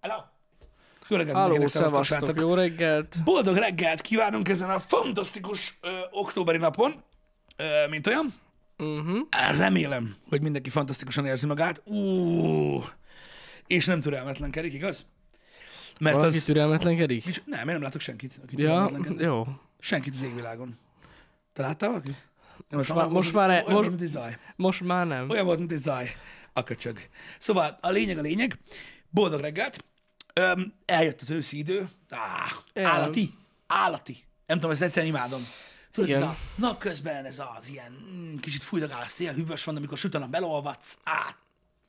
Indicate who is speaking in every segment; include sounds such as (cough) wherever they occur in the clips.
Speaker 1: Hello! Jó reggelt
Speaker 2: Halló,
Speaker 1: mindenkinek, szevasztok,
Speaker 2: szevasztok,
Speaker 1: srácok!
Speaker 2: jó reggelt!
Speaker 1: Boldog reggelt kívánunk ezen a fantasztikus ö, októberi napon, ö, mint olyan.
Speaker 2: Mhm.
Speaker 1: Uh-huh. Remélem, hogy mindenki fantasztikusan érzi magát. Ú, és nem türelmetlenkedik, igaz? Mert
Speaker 2: Valaki
Speaker 1: Hát az...
Speaker 2: türelmetlenkedik?
Speaker 1: Nem, én nem látok senkit, aki
Speaker 2: Ja,
Speaker 1: türelmetlenkedik.
Speaker 2: jó.
Speaker 1: Senkit az égvilágon. Te láttál valaki? Most
Speaker 2: már- most már-
Speaker 1: Olyan,
Speaker 2: most-
Speaker 1: mint egy zaj.
Speaker 2: Most már nem.
Speaker 1: Olyan volt, mint egy zaj. A köcsög. Szóval a lényeg a lényeg. Boldog reggelt. Öm, eljött az őszi idő. Á,
Speaker 2: El.
Speaker 1: állati. Állati. Nem tudom, ezt egyszerűen imádom. Tudod,
Speaker 2: Igen.
Speaker 1: ez a napközben ez az ilyen mm, kicsit fújdagál a szél, hűvös van, de amikor süt a nap, belolvadsz. Á,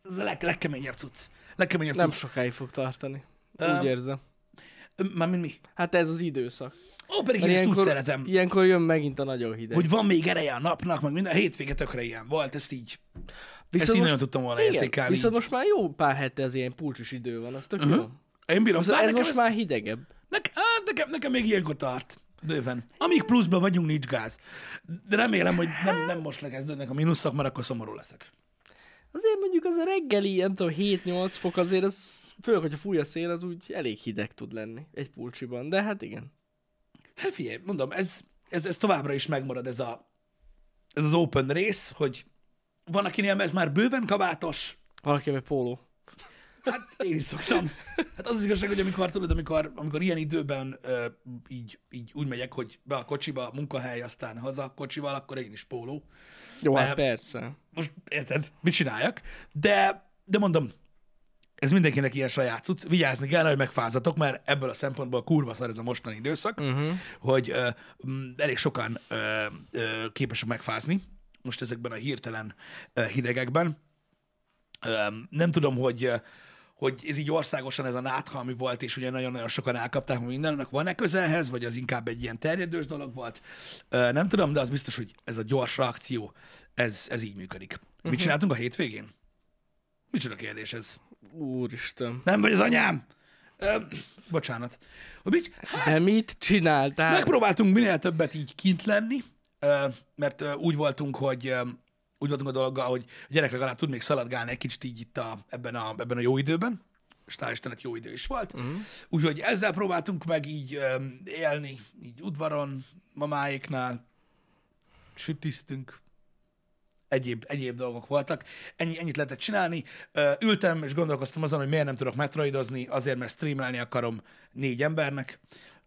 Speaker 1: ez a leg, legkeményebb cucc. Legkeményebb
Speaker 2: Nem
Speaker 1: cucc.
Speaker 2: sokáig fog tartani.
Speaker 1: Öm,
Speaker 2: Úgy érzem.
Speaker 1: Öm, Mármint mi?
Speaker 2: Hát ez az időszak.
Speaker 1: Ó, pedig én
Speaker 2: Mert
Speaker 1: ezt úgy szeretem.
Speaker 2: ilyenkor jön megint a nagyon hideg.
Speaker 1: Hogy van még ereje a napnak, meg minden a hétvége tökre ilyen volt, ezt így
Speaker 2: viszont
Speaker 1: így nagyon tudtam volna értékelni,
Speaker 2: Viszont
Speaker 1: így.
Speaker 2: most már jó pár hete ez ilyen pulcsos idő van, az tök uh-huh. jó.
Speaker 1: Én bírom.
Speaker 2: Ez,
Speaker 1: Bár
Speaker 2: ez
Speaker 1: Hát nekem
Speaker 2: most már hidegebb.
Speaker 1: Nekem, hát nekem, nekem még ilyenkor tart. Bőven. Amíg pluszban vagyunk, nincs gáz. De remélem, hogy nem, nem most lekezdődnek a mínuszok, mert akkor szomorú leszek.
Speaker 2: Azért mondjuk az a reggeli, nem tudom, 7-8 fok azért, az, főleg, hogyha fúj a szél, az úgy elég hideg tud lenni egy pulcsiban, de hát igen.
Speaker 1: Hát figyelj, mondom, ez, ez, ez továbbra is megmarad ez, a, ez az open rész, hogy van, akinél ez már bőven kabátos,
Speaker 2: Valaki meg póló.
Speaker 1: Hát én is szoktam. Hát az az igazság, hogy amikor tudod, amikor, amikor ilyen időben ö, így, így úgy megyek, hogy be a kocsiba, munkahely, aztán haza kocsival, akkor én is póló.
Speaker 2: Jó,
Speaker 1: Nem.
Speaker 2: hát persze.
Speaker 1: Most érted, mit csináljak? De, de mondom, ez mindenkinek ilyen saját cucc. Vigyázni kell, hogy megfázatok, mert ebből a szempontból kurva szar ez a mostani időszak, uh-huh. hogy ö, m, elég sokan ö, ö, képesek megfázni most ezekben a hirtelen ö, hidegekben. Öm, nem tudom, hogy hogy ez így országosan ez a nátha, ami volt, és ugye nagyon-nagyon sokan elkapták, hogy mindennek van-e közelhez, vagy az inkább egy ilyen terjedős dolog volt. Ö, Nem tudom, de az biztos, hogy ez a gyors reakció, ez, ez így működik. Uh-huh. Mit csináltunk a hétvégén? Micsoda kérdés ez?
Speaker 2: Úristen.
Speaker 1: Nem vagy az anyám? Ö, bocsánat. Hogy mit? Hát,
Speaker 2: De mit csináltál?
Speaker 1: Megpróbáltunk minél többet így kint lenni, ö, mert ö, úgy voltunk, hogy ö, úgy voltunk a dologgal, hogy a gyerek legalább tud még szaladgálni egy kicsit így itt a, ebben, a, ebben a jó időben, és hál' Istennek jó idő is volt. Uh-huh. Úgyhogy ezzel próbáltunk meg így ö, élni, így udvaron, mamáéknál, sütisztünk, egyéb, egyéb dolgok voltak. Ennyi, ennyit lehetett csinálni. Ö, Ültem és gondolkoztam azon, hogy miért nem tudok metroidozni, azért, mert streamelni akarom négy embernek,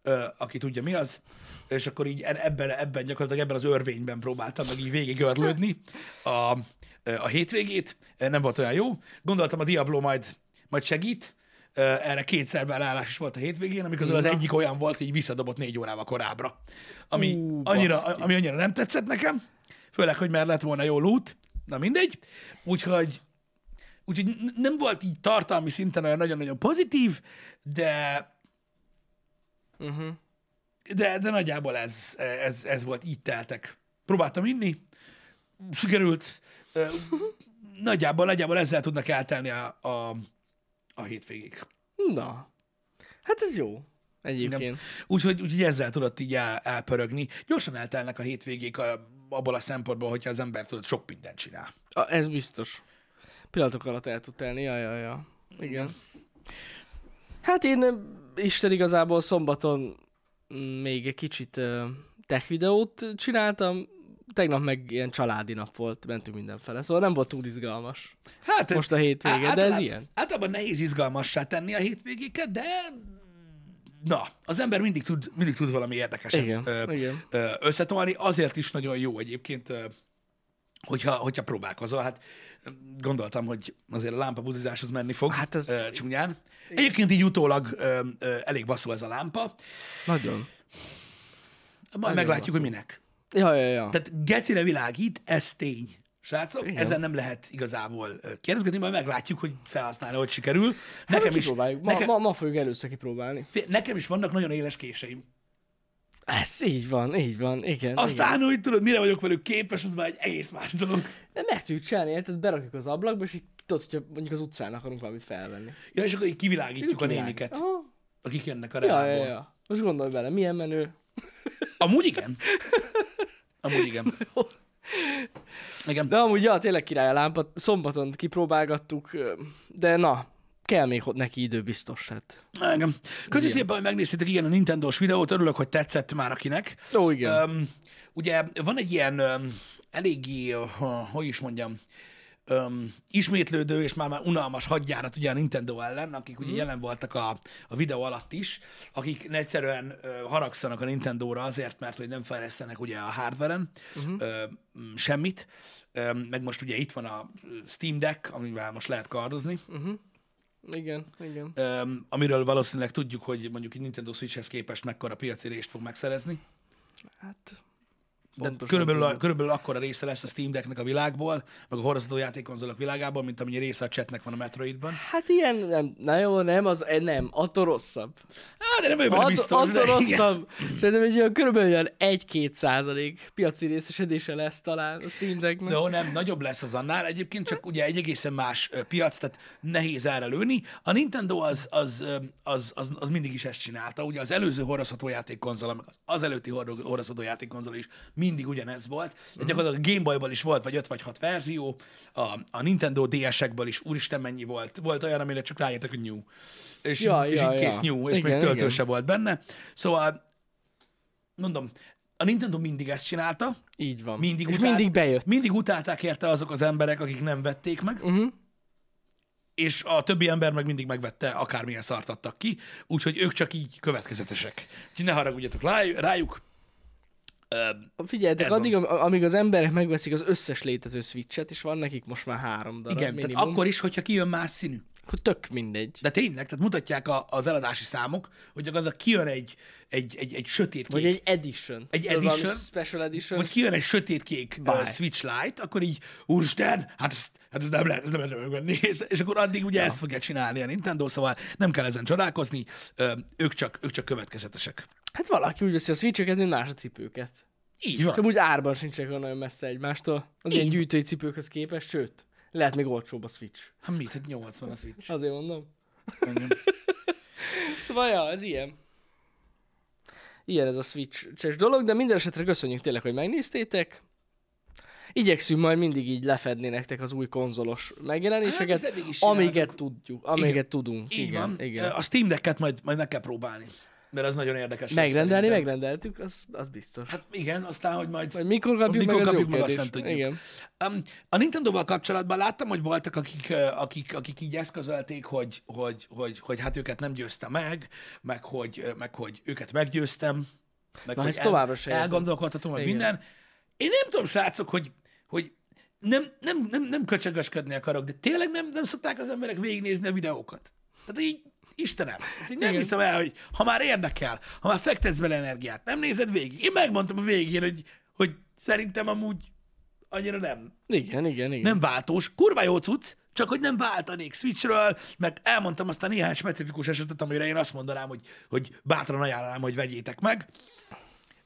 Speaker 1: ö, aki tudja mi az, és akkor így e- ebben, ebben gyakorlatilag ebben az örvényben próbáltam meg így végigörlődni a, ö, a hétvégét. Nem volt olyan jó. Gondoltam, a Diablo majd, majd segít, Ö, erre kétszer belállás is volt a hétvégén, amikor az egyik olyan volt, hogy így visszadobott négy órával korábbra. Ami,
Speaker 2: Ú,
Speaker 1: annyira,
Speaker 2: baszki.
Speaker 1: ami annyira nem tetszett nekem, főleg, hogy már lett volna jó loot, na mindegy, úgyhogy, úgyhogy n- nem volt így tartalmi szinten olyan nagyon-nagyon pozitív, de
Speaker 2: Uh-huh.
Speaker 1: de, de nagyjából ez, ez, ez volt, így teltek. Próbáltam inni, sikerült, Ö, nagyjából, nagyjából ezzel tudnak eltelni a, a, a hétvégék.
Speaker 2: Na. Hát ez jó. Egyébként.
Speaker 1: Úgyhogy, úgyhogy ezzel tudott így el, elpörögni. Gyorsan eltelnek a hétvégék a, abból a szempontból, hogyha az ember tudod, sok mindent csinál.
Speaker 2: A, ez biztos. Pillanatok alatt el tud telni, ja, ja, ja. Igen. Hát én, ö, Isten igazából szombaton mm, még egy kicsit ö, tech videót csináltam, tegnap meg ilyen családi nap volt, mentünk mindenfele, szóval nem volt túl izgalmas
Speaker 1: Hát
Speaker 2: most a hétvége, de ez
Speaker 1: általában-
Speaker 2: ilyen.
Speaker 1: Általában nehéz izgalmassá tenni a hétvégéket, de na, az ember mindig tud, mindig tud valami érdekeset
Speaker 2: Igen,
Speaker 1: ö,
Speaker 2: igen.
Speaker 1: ö, összetolni. Azért is nagyon jó egyébként, ö, hogyha, hogyha próbálkozol. Hát ö, gondoltam, hogy azért a lámpabuzizás az menni fog
Speaker 2: Hát ez-
Speaker 1: ö, csúnyán. Egyébként így utólag ö, ö, elég baszó ez a lámpa.
Speaker 2: Nagyon.
Speaker 1: Majd meglátjuk,
Speaker 2: baszó.
Speaker 1: hogy minek.
Speaker 2: Ja, ja, ja.
Speaker 1: Tehát gecire világít, ez tény. Srácok, Igen.
Speaker 2: Igen.
Speaker 1: ezen nem lehet igazából ö, kérdezgetni, majd meglátjuk, hogy felhasználni, hogy sikerül. Nekem is,
Speaker 2: Hát, Kipróbáljuk. Ma,
Speaker 1: nekem,
Speaker 2: ma, ma fogjuk először kipróbálni.
Speaker 1: Fé- Nekem is vannak nagyon éles késeim.
Speaker 2: Ez így van, így van, igen. igen.
Speaker 1: Aztán, hogy tudod, mire vagyok velük képes, az már egy egész más dolog.
Speaker 2: De meg tudjuk csinálni, érted? Berakjuk az ablakba, és így tudod, hogyha mondjuk az utcán akarunk valamit felvenni.
Speaker 1: Ja, és akkor így kivilágítjuk a
Speaker 2: Kivág.
Speaker 1: néniket,
Speaker 2: Aha.
Speaker 1: akik jönnek a
Speaker 2: Ja,
Speaker 1: reából.
Speaker 2: ja, ja. Most gondolj bele, milyen menő.
Speaker 1: Amúgy igen. Amúgy igen.
Speaker 2: (laughs)
Speaker 1: Igen.
Speaker 2: De amúgy, ja, tényleg király a lámpa. Szombaton kipróbálgattuk, ö, de na, kell még ho- neki idő biztos, hát.
Speaker 1: Na, Igen. Köszi szépen, hogy megnéztétek igen a Nintendo-s videót, örülök, hogy tetszett már akinek.
Speaker 2: Ó, igen.
Speaker 1: Öm, ugye van egy ilyen öm, eléggé, ö, hogy is mondjam, öm, ismétlődő és már, már unalmas hadjárat ugye a Nintendo ellen, akik ugye jelen voltak a, a videó alatt is, akik egyszerűen ö, haragszanak a Nintendo-ra azért, mert hogy nem fejlesztenek ugye a hardveren ö, m, semmit, Öm, meg most ugye itt van a ö, Steam Deck, amivel most lehet kardozni,
Speaker 2: Igen, igen.
Speaker 1: Öm, amiről valószínűleg tudjuk, hogy mondjuk egy Nintendo Switchhez képest mekkora piacérést fog megszerezni.
Speaker 2: Hát,
Speaker 1: De
Speaker 2: Pontosan
Speaker 1: körülbelül, a,
Speaker 2: tudom.
Speaker 1: körülbelül akkora része lesz a Steam Decknek a világból, meg a horozható játékkonzolok világában, mint amennyi része a chatnek van a Metroidban.
Speaker 2: hát ilyen nem, na jó, nem, az eh, nem, attól rosszabb.
Speaker 1: Á, Hát, de nem vagyok benne
Speaker 2: Att,
Speaker 1: biztos.
Speaker 2: attól
Speaker 1: de igen.
Speaker 2: rosszabb. Szerintem egy olyan körülbelül olyan 1-2 százalék piaci részesedése lesz talán a Steam Decknek.
Speaker 1: No, nem, nagyobb lesz az annál. Egyébként csak ugye egy egészen más ö, piac, tehát nehéz erre lőni. A Nintendo az, az, ö, az, az, az mindig is ezt csinálta. Ugye az előző horrazható játékkonzol, meg az, az előtti hor- horrazható játékkonzol is mindig ugyanez volt.
Speaker 2: Mhm.
Speaker 1: De gyakorlatilag a Game Boy-ból is volt, vagy öt vagy hat verzió, a, a Nintendo DS-ekből is, úristen mennyi volt. Volt olyan, amire csak ráírtak, hogy new. És,
Speaker 2: Ja,
Speaker 1: és
Speaker 2: ja,
Speaker 1: így kész
Speaker 2: ja.
Speaker 1: new, és igen, még
Speaker 2: Igen,
Speaker 1: töltő
Speaker 2: igen.
Speaker 1: se volt benne. Szóval, mondom, a Nintendo mindig ezt csinálta,
Speaker 2: Így van.
Speaker 1: mindig
Speaker 2: És
Speaker 1: utált,
Speaker 2: mindig bejött.
Speaker 1: Mindig utálták érte azok az emberek, akik nem vették meg,
Speaker 2: Uh-huh.
Speaker 1: és a többi ember meg mindig megvette, akármilyen szart adtak ki, úgyhogy ők csak így következetesek. Úgyhogy ne haragudjatok lá- rájuk. Ö,
Speaker 2: Figyeljetek,
Speaker 1: Ez van.
Speaker 2: addig, am- amíg az emberek megveszik az összes létező switchet, és van nekik most már három darab
Speaker 1: igen,
Speaker 2: minimum,
Speaker 1: tehát akkor is, hogyha kijön más színű.
Speaker 2: akkor tök mindegy.
Speaker 1: De tényleg, tehát mutatják a, az eladási számok, hogy az a kijön egy, egy, egy, egy sötét
Speaker 2: Vagy
Speaker 1: kék,
Speaker 2: egy edition.
Speaker 1: Egy
Speaker 2: Tudod, valami
Speaker 1: edition?
Speaker 2: Special edition.
Speaker 1: vagy kijön egy sötét kék
Speaker 2: Bye.
Speaker 1: uh, Switch Lite, akkor így, úristen, hát ezt, hát ezt nem lehet, ezt nem lehet megvenni. (laughs) És, és akkor addig ugye ja. ezt fogja csinálni a Nintendo, szóval nem kell ezen csodálkozni, ö, ők csak, ők csak következetesek.
Speaker 2: Hát valaki úgy veszi a switcheket, mint más a cipőket.
Speaker 1: Így van.
Speaker 2: Csak úgy árban sincsek olyan nagyon messze egymástól. Az ilyen
Speaker 1: Így.
Speaker 2: gyűjtői cipőkhöz képest, sőt, lehet még olcsóbb a switch.
Speaker 1: Hát mit, hát 80 a Switch.
Speaker 2: Azért mondom.
Speaker 1: Igen.
Speaker 2: (laughs) Szóval, ja, ez ilyen. Ilyen ez a switch dolog, de minden esetre köszönjük tényleg, hogy megnéztétek. Igyekszünk majd mindig így lefedni nektek az új konzolos megjelenéseket,
Speaker 1: Hát, ezt eddig is
Speaker 2: amiket
Speaker 1: csináltuk.
Speaker 2: tudjuk, amiket
Speaker 1: Igen.
Speaker 2: tudunk.
Speaker 1: Így
Speaker 2: igen,
Speaker 1: van.
Speaker 2: igen.
Speaker 1: A Steam Decket majd, majd meg kell próbálni, mert az nagyon érdekes. lesz
Speaker 2: Megrendelni,
Speaker 1: szerintem.
Speaker 2: megrendeltük, az, az biztos.
Speaker 1: Hát igen, aztán, hogy majd...
Speaker 2: Vagy mikor kapjuk
Speaker 1: Mikor
Speaker 2: meg, az
Speaker 1: kapjuk
Speaker 2: jó
Speaker 1: meg, azt
Speaker 2: kérdés.
Speaker 1: nem tudjuk.
Speaker 2: Igen.
Speaker 1: Um, a Nintendo-val kapcsolatban láttam, hogy voltak, akik, ö, akik, akik így eszközölték, hogy, hogy, hogy, hogy hát őket nem győzte meg, meg hogy, ö, meg hogy őket meggyőztem. Meg
Speaker 2: Na,
Speaker 1: hogy
Speaker 2: ezt továbbra se értem.
Speaker 1: Elgondolkodhatom, hogy
Speaker 2: Igen.
Speaker 1: minden. Én nem tudom, srácok, hogy, hogy nem, nem, nem, nem köcsögösködni akarok, de tényleg nem, nem szokták az emberek végignézni a videókat. Tehát így, Istenem, hát így nem
Speaker 2: Igen.
Speaker 1: hiszem el, hogy ha már érdekel, ha már fektetsz bele energiát, nem nézed végig. Én megmondtam a végén, hogy, hogy szerintem amúgy annyira nem,
Speaker 2: Igen, igen, igen.
Speaker 1: nem váltós, kurva jó cucc, csak hogy nem váltanék Switchről, meg elmondtam azt a néhány specifikus esetet, amire én azt mondanám, hogy, hogy bátran ajánlanám, hogy vegyétek meg.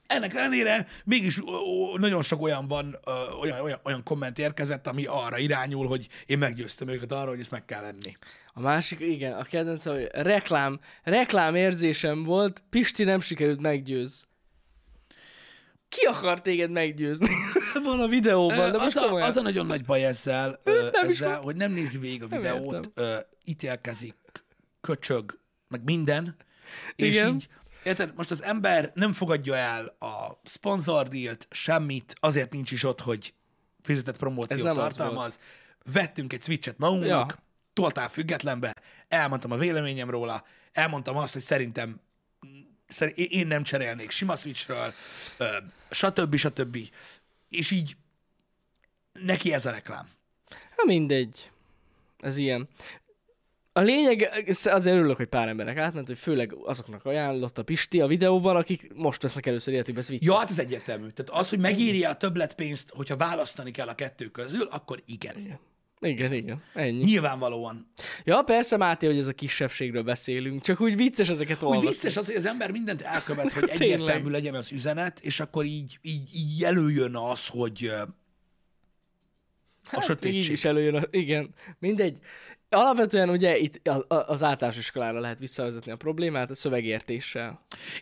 Speaker 1: Ennek ellenére mégis ó, ó, nagyon sok olyan van, ö, olyan, olyan, olyan komment érkezett, ami arra irányul, hogy én meggyőztem őket arra, hogy ezt meg kell venni.
Speaker 2: A másik, igen, a kedvenc, hogy reklám, reklám érzésem volt, Pisti nem sikerült meggyőz. Ki akar téged meggyőzni? (laughs) Van a videóban, de
Speaker 1: Ö, az,
Speaker 2: most
Speaker 1: a,
Speaker 2: komolyan.
Speaker 1: az a nagyon nagy baj ezzel, ö,
Speaker 2: Nem is
Speaker 1: ezzel hogy nem nézi végig a videót,
Speaker 2: értem.
Speaker 1: ö, ítélkezik, köcsög, meg minden, és
Speaker 2: Igen.
Speaker 1: így, érted, most az ember nem fogadja el a szponzordílt, semmit, azért nincs is ott, hogy fizetett
Speaker 2: Ez
Speaker 1: promóciót
Speaker 2: nem az
Speaker 1: tartalmaz. Vettünk egy switchet magunknak,
Speaker 2: Ja.
Speaker 1: toltál függetlenbe, elmondtam a véleményem róla, elmondtam azt, hogy szerintem szer- én- én nem cserélnék sima switchről, ö, stb. stb. És így neki ez a reklám.
Speaker 2: Na mindegy. Ez ilyen. A lényeg, azért örülök, hogy pár embernek átment, hogy főleg azoknak ajánlott a Pisti a videóban, akik most vesznek először életükbe switch
Speaker 1: Ja, hát ez egyértelmű. Tehát az, hogy megírja a többletpénzt, hogyha választani kell a kettő közül, akkor igen.
Speaker 2: Igen, igen, ennyi.
Speaker 1: Nyilvánvalóan.
Speaker 2: Ja, persze Máté, hogy ez a kisebbségről beszélünk, csak úgy vicces ezeket
Speaker 1: Úgy
Speaker 2: olvasni.
Speaker 1: vicces az, hogy az ember mindent elkövet,
Speaker 2: (laughs)
Speaker 1: hogy
Speaker 2: Tényleg.
Speaker 1: egyértelmű legyen az üzenet, és akkor így, így, így előjön az, hogy ö, a
Speaker 2: Hát, Így
Speaker 1: sötétség.
Speaker 2: is előjön, a, igen. Mindegy. Alapvetően ugye itt a- a- az általános iskolára lehet visszavezetni a problémát a szövegértéssel.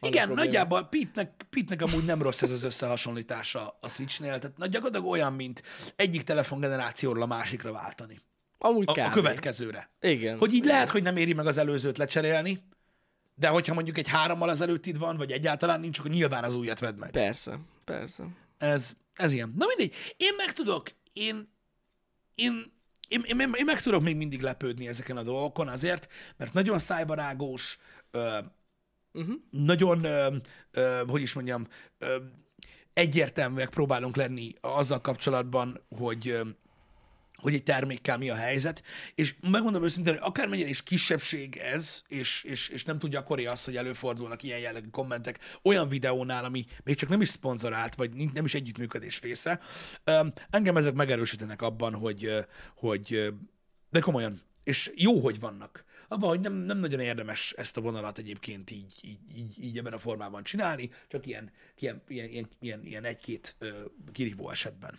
Speaker 2: Van
Speaker 1: Igen,
Speaker 2: a probléma.
Speaker 1: nagyjából Pitnek, Pitnek amúgy nem rossz ez az összehasonlítása a Switchnél, tehát nagy- gyakorlatilag olyan, mint egyik telefongenerációról a másikra váltani.
Speaker 2: Amúgy
Speaker 1: a, a
Speaker 2: kb.
Speaker 1: következőre.
Speaker 2: Igen.
Speaker 1: Hogy így lehet, hogy nem éri meg az előzőt lecserélni, de hogyha mondjuk egy hárommal az előttid van, vagy egyáltalán nincs, akkor nyilván az újat vedd meg.
Speaker 2: Persze, persze.
Speaker 1: Ez, ez ilyen. Na mindegy, én meg tudok, én, én, én, én, én, én meg tudok még mindig lepődni ezeken a dolgokon azért, mert nagyon szájbarágós, ö,
Speaker 2: Uh-huh.
Speaker 1: nagyon, ö, ö, hogy is mondjam, ö, egyértelműek próbálunk lenni azzal kapcsolatban, hogy ö, hogy egy termékkel mi a helyzet, és megmondom őszintén, hogy akármennyire is kisebbség ez, és, és, és nem tudja gyakori az, hogy előfordulnak ilyen jellegű kommentek olyan videónál, ami még csak nem is szponzorált, vagy nin- nem is együttműködés része, öm, engem ezek megerősítenek abban, hogy, ö, hogy ö, de komolyan, és jó, hogy vannak. Abban, hogy nem, nem nagyon érdemes ezt a vonalat egyébként így, így, így, így ebben a formában csinálni, csak ilyen, ilyen, ilyen, ilyen, ilyen, ilyen egy-két ö, kirívó esetben.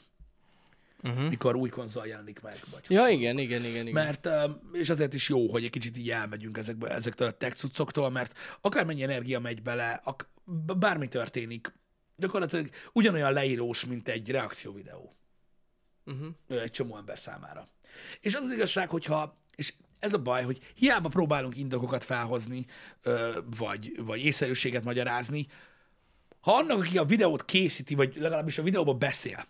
Speaker 1: Uh-huh. Mikor új konzol jelenik meg, vagy
Speaker 2: Ja, igen, igen, igen, igen.
Speaker 1: mert, öm, és ezért is jó, hogy egy kicsit így elmegyünk ezekbe, ezektől a tech cuccoktól, mert akármennyi energia megy bele, ak- b- bármi történik, gyakorlatilag ugyanolyan leírós, mint egy reakcióvideó
Speaker 2: Uh-huh.
Speaker 1: ö, egy csomó ember számára. És az az igazság, hogyha, és ez a baj, hogy hiába próbálunk indokokat felhozni, ö, vagy, vagy észszerűséget magyarázni, ha annak, aki a videót készíti, vagy legalábbis a videóban beszél,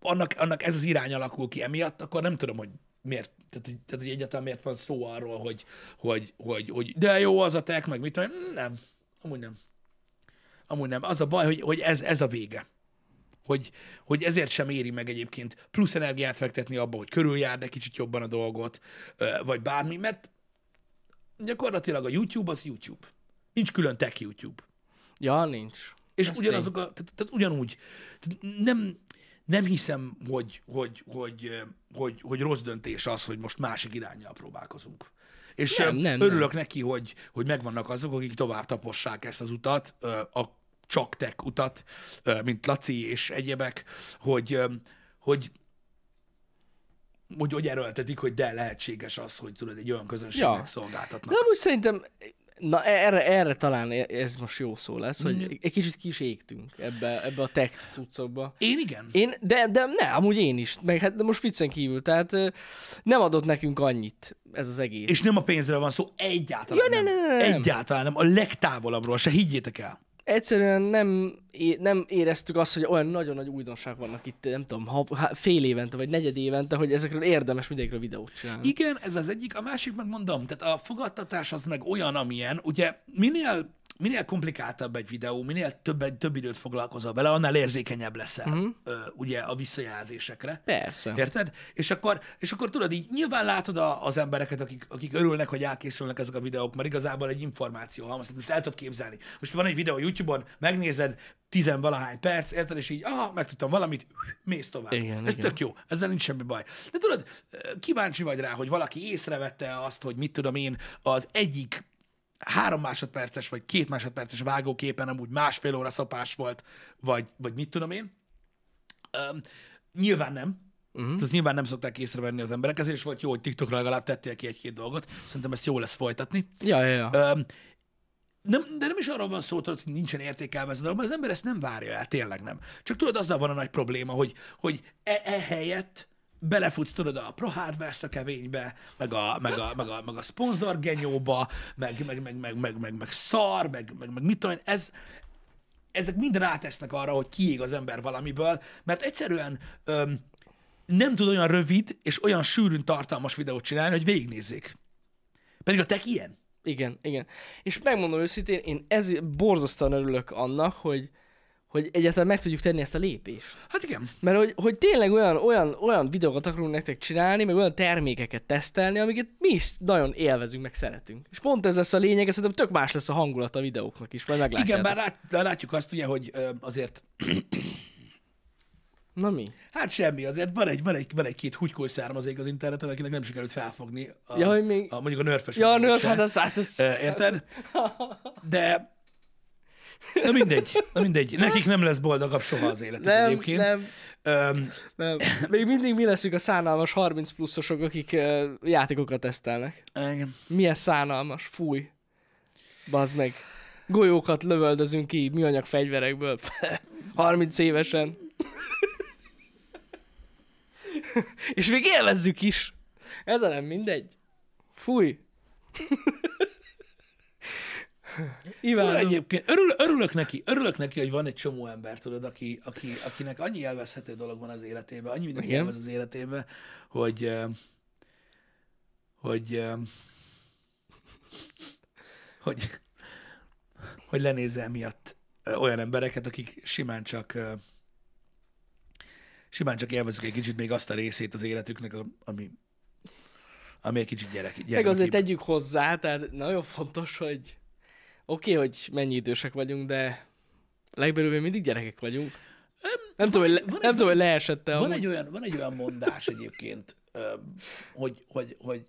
Speaker 1: annak, annak ez az irány alakul ki emiatt, akkor nem tudom, hogy miért, tehát, hogy- tehát hogy egyáltalán miért van szó arról, hogy, hogy, hogy, hogy de jó az a tek, meg mit tudom, én. nem, amúgy nem. Amúgy nem. Az a baj, hogy, hogy ez, ez a vége hogy, hogy ezért sem éri meg egyébként plusz energiát fektetni abba, hogy körüljárd egy kicsit jobban a dolgot, ö, vagy bármi, mert gyakorlatilag a YouTube az YouTube. Nincs külön tech YouTube.
Speaker 2: Ja, nincs.
Speaker 1: És
Speaker 2: Ez
Speaker 1: ugyanazok a, tehát, tehát ugyanúgy, tehát nem, nem hiszem, hogy, hogy, hogy, ö, hogy, hogy rossz döntés az, hogy most másik irányjal próbálkozunk. És
Speaker 2: Nem,
Speaker 1: nem,
Speaker 2: nem,
Speaker 1: nem, örülök nem. neki, hogy, hogy megvannak azok, akik tovább tapossák ezt az utat, ö, a csak tech utat, ö, mint Laci és egyebek, hogy, ö, hogy hogy, hogy erőltetik, hogy de lehetséges az, hogy tudod, egy olyan közönségnek
Speaker 2: Ja.
Speaker 1: ja. szolgáltatnak.
Speaker 2: De amúgy szerintem, na erre, erre talán e- ez most jó szó lesz,
Speaker 1: Mm.
Speaker 2: hogy egy kicsit ki is égtünk ebbe, ebbe a tech cuccokba.
Speaker 1: Én igen.
Speaker 2: Én, de, de ne, amúgy én is, meg hát de most viccen kívül, tehát ö, nem adott nekünk annyit ez az egész.
Speaker 1: És nem a pénzről van szó, egyáltalán
Speaker 2: Ja, ne,
Speaker 1: nem.
Speaker 2: ne, ne, ne, nem.
Speaker 1: Egyáltalán nem. A legtávolabbról se, higgyétek el.
Speaker 2: Egyszerűen nem, é- nem éreztük azt, hogy olyan nagyon nagy újdonság vannak itt, nem tudom, ha, ha, fél évente vagy negyed évente, hogy ezekről érdemes mindegyikről videót csinálni.
Speaker 1: Igen, ez az egyik, a másik meg mondom, tehát a fogadtatás az meg olyan, amilyen, ugye minél, minél komplikáltabb egy videó, minél több, több időt foglalkozol vele, annál érzékenyebb leszel
Speaker 2: Mhm.
Speaker 1: ö, ugye a visszajelzésekre.
Speaker 2: Persze.
Speaker 1: Érted? És akkor, és akkor tudod, így nyilván látod a, az embereket, akik, akik örülnek, hogy elkészülnek ezek a videók, mert igazából egy információ halmaz. Tehát Most el tudod képzelni. Most van egy videó YouTube-on, megnézed tizenvalahány perc, érted, és így, aha, megtudtam valamit, mész tovább.
Speaker 2: Igen,
Speaker 1: Ez
Speaker 2: igen.
Speaker 1: tök jó, ezzel nincs semmi baj. De tudod, kíváncsi vagy rá, hogy valaki észrevette azt, hogy mit tudom én, az egyik három másodperces vagy két másodperces vágóképen amúgy másfél óra szopás volt, vagy, vagy mit tudom én. Öm, nyilván nem. Uh-huh. Ez nyilván nem szokták észrevenni az emberek, ezért is volt jó, hogy TikTokra legalább tettél ki egy-két dolgot. Szerintem ezt jó lesz folytatni.
Speaker 2: Ja, ja, ja.
Speaker 1: Öm, nem, de nem is arról van szó, tudod, hogy nincsen értékelve ez a dolog, mert az ember ezt nem várja el, tényleg nem. Csak tudod, azzal van a nagy probléma, hogy, hogy e, e helyett belefutsz, tudod, a pro hardware szakevénybe, meg a, meg a, meg a, meg a szponzor genyóba, meg, meg, meg, meg, meg, meg, meg szar, meg, meg, meg mit tudom én, ez, ezek mind rátesznek arra, hogy kiég az ember valamiből, mert egyszerűen öm, nem tud olyan rövid és olyan sűrűn tartalmas videót csinálni, hogy végignézzék. Pedig a tech ilyen.
Speaker 2: Igen, igen. És megmondom őszintén, én ez borzasztóan örülök annak, hogy, hogy egyáltalán meg tudjuk tenni ezt a lépést.
Speaker 1: Hát igen.
Speaker 2: Mert hogy, hogy tényleg olyan, olyan, olyan videókat akarunk nektek csinálni, meg olyan termékeket tesztelni, amiket mi is nagyon élvezünk, meg szeretünk. És pont ez lesz a lényeg, szerintem tök más lesz a hangulat a videóknak is, majd meglátjátok.
Speaker 1: Igen, bár lát, de látjuk azt ugye, hogy ö, azért,
Speaker 2: Na mi?
Speaker 1: hát semmi, azért van egy, van egy, van egy két hugykoly származék az interneten, akinek nem sikerült felfogni a,
Speaker 2: Ja, hogy még-
Speaker 1: a mondjuk a nörfes.
Speaker 2: Ja, a
Speaker 1: videót
Speaker 2: nőr,
Speaker 1: se.
Speaker 2: hát az, hát az...
Speaker 1: Ö, Érted? De Na mindegy, na mindegy. Nekik nem lesz boldogabb soha az életük
Speaker 2: Nem,
Speaker 1: egyébként.
Speaker 2: nem.
Speaker 1: Öm,
Speaker 2: Nem. Még mindig mi leszünk a szánalmas 30 pluszosok, akik uh, játékokat tesztelnek.
Speaker 1: engem.
Speaker 2: Milyen szánalmas, fúj. Bazd meg. Golyókat lövöldözünk ki műanyag (laughs) fegyverekből. 30 évesen. (laughs) És még élvezzük is. Ez a nem mindegy. Fúj. (laughs)
Speaker 1: Tudod,
Speaker 2: Imádom.
Speaker 1: Egyébként örül, örülök neki, örülök neki, hogy van egy csomó ember, tudod, aki, aki, akinek annyi élvezhető dolog van az életében, annyi mindenki
Speaker 2: Igen.
Speaker 1: élvez az életében, hogy, ö, hogy, ö, (laughs) hogy, hogy lenézzel miatt ö, olyan embereket, akik simán csak ö, simán csak élvezik egy kicsit még azt a részét az életüknek, a- ami, ami egy kicsit gyerek,
Speaker 2: Meg azért
Speaker 1: gyermekibb.
Speaker 2: tegyük hozzá, tehát nagyon fontos, hogy oké, okay, hogy mennyi idősek vagyunk, de legbelül még mindig gyerekek vagyunk. Nem, tudom, hogy, le,
Speaker 1: van egy-
Speaker 2: nem tudom, hogy leesette
Speaker 1: Van
Speaker 2: amúgy.
Speaker 1: egy, olyan, van egy olyan mondás egyébként, ö, hogy, hogy, hogy,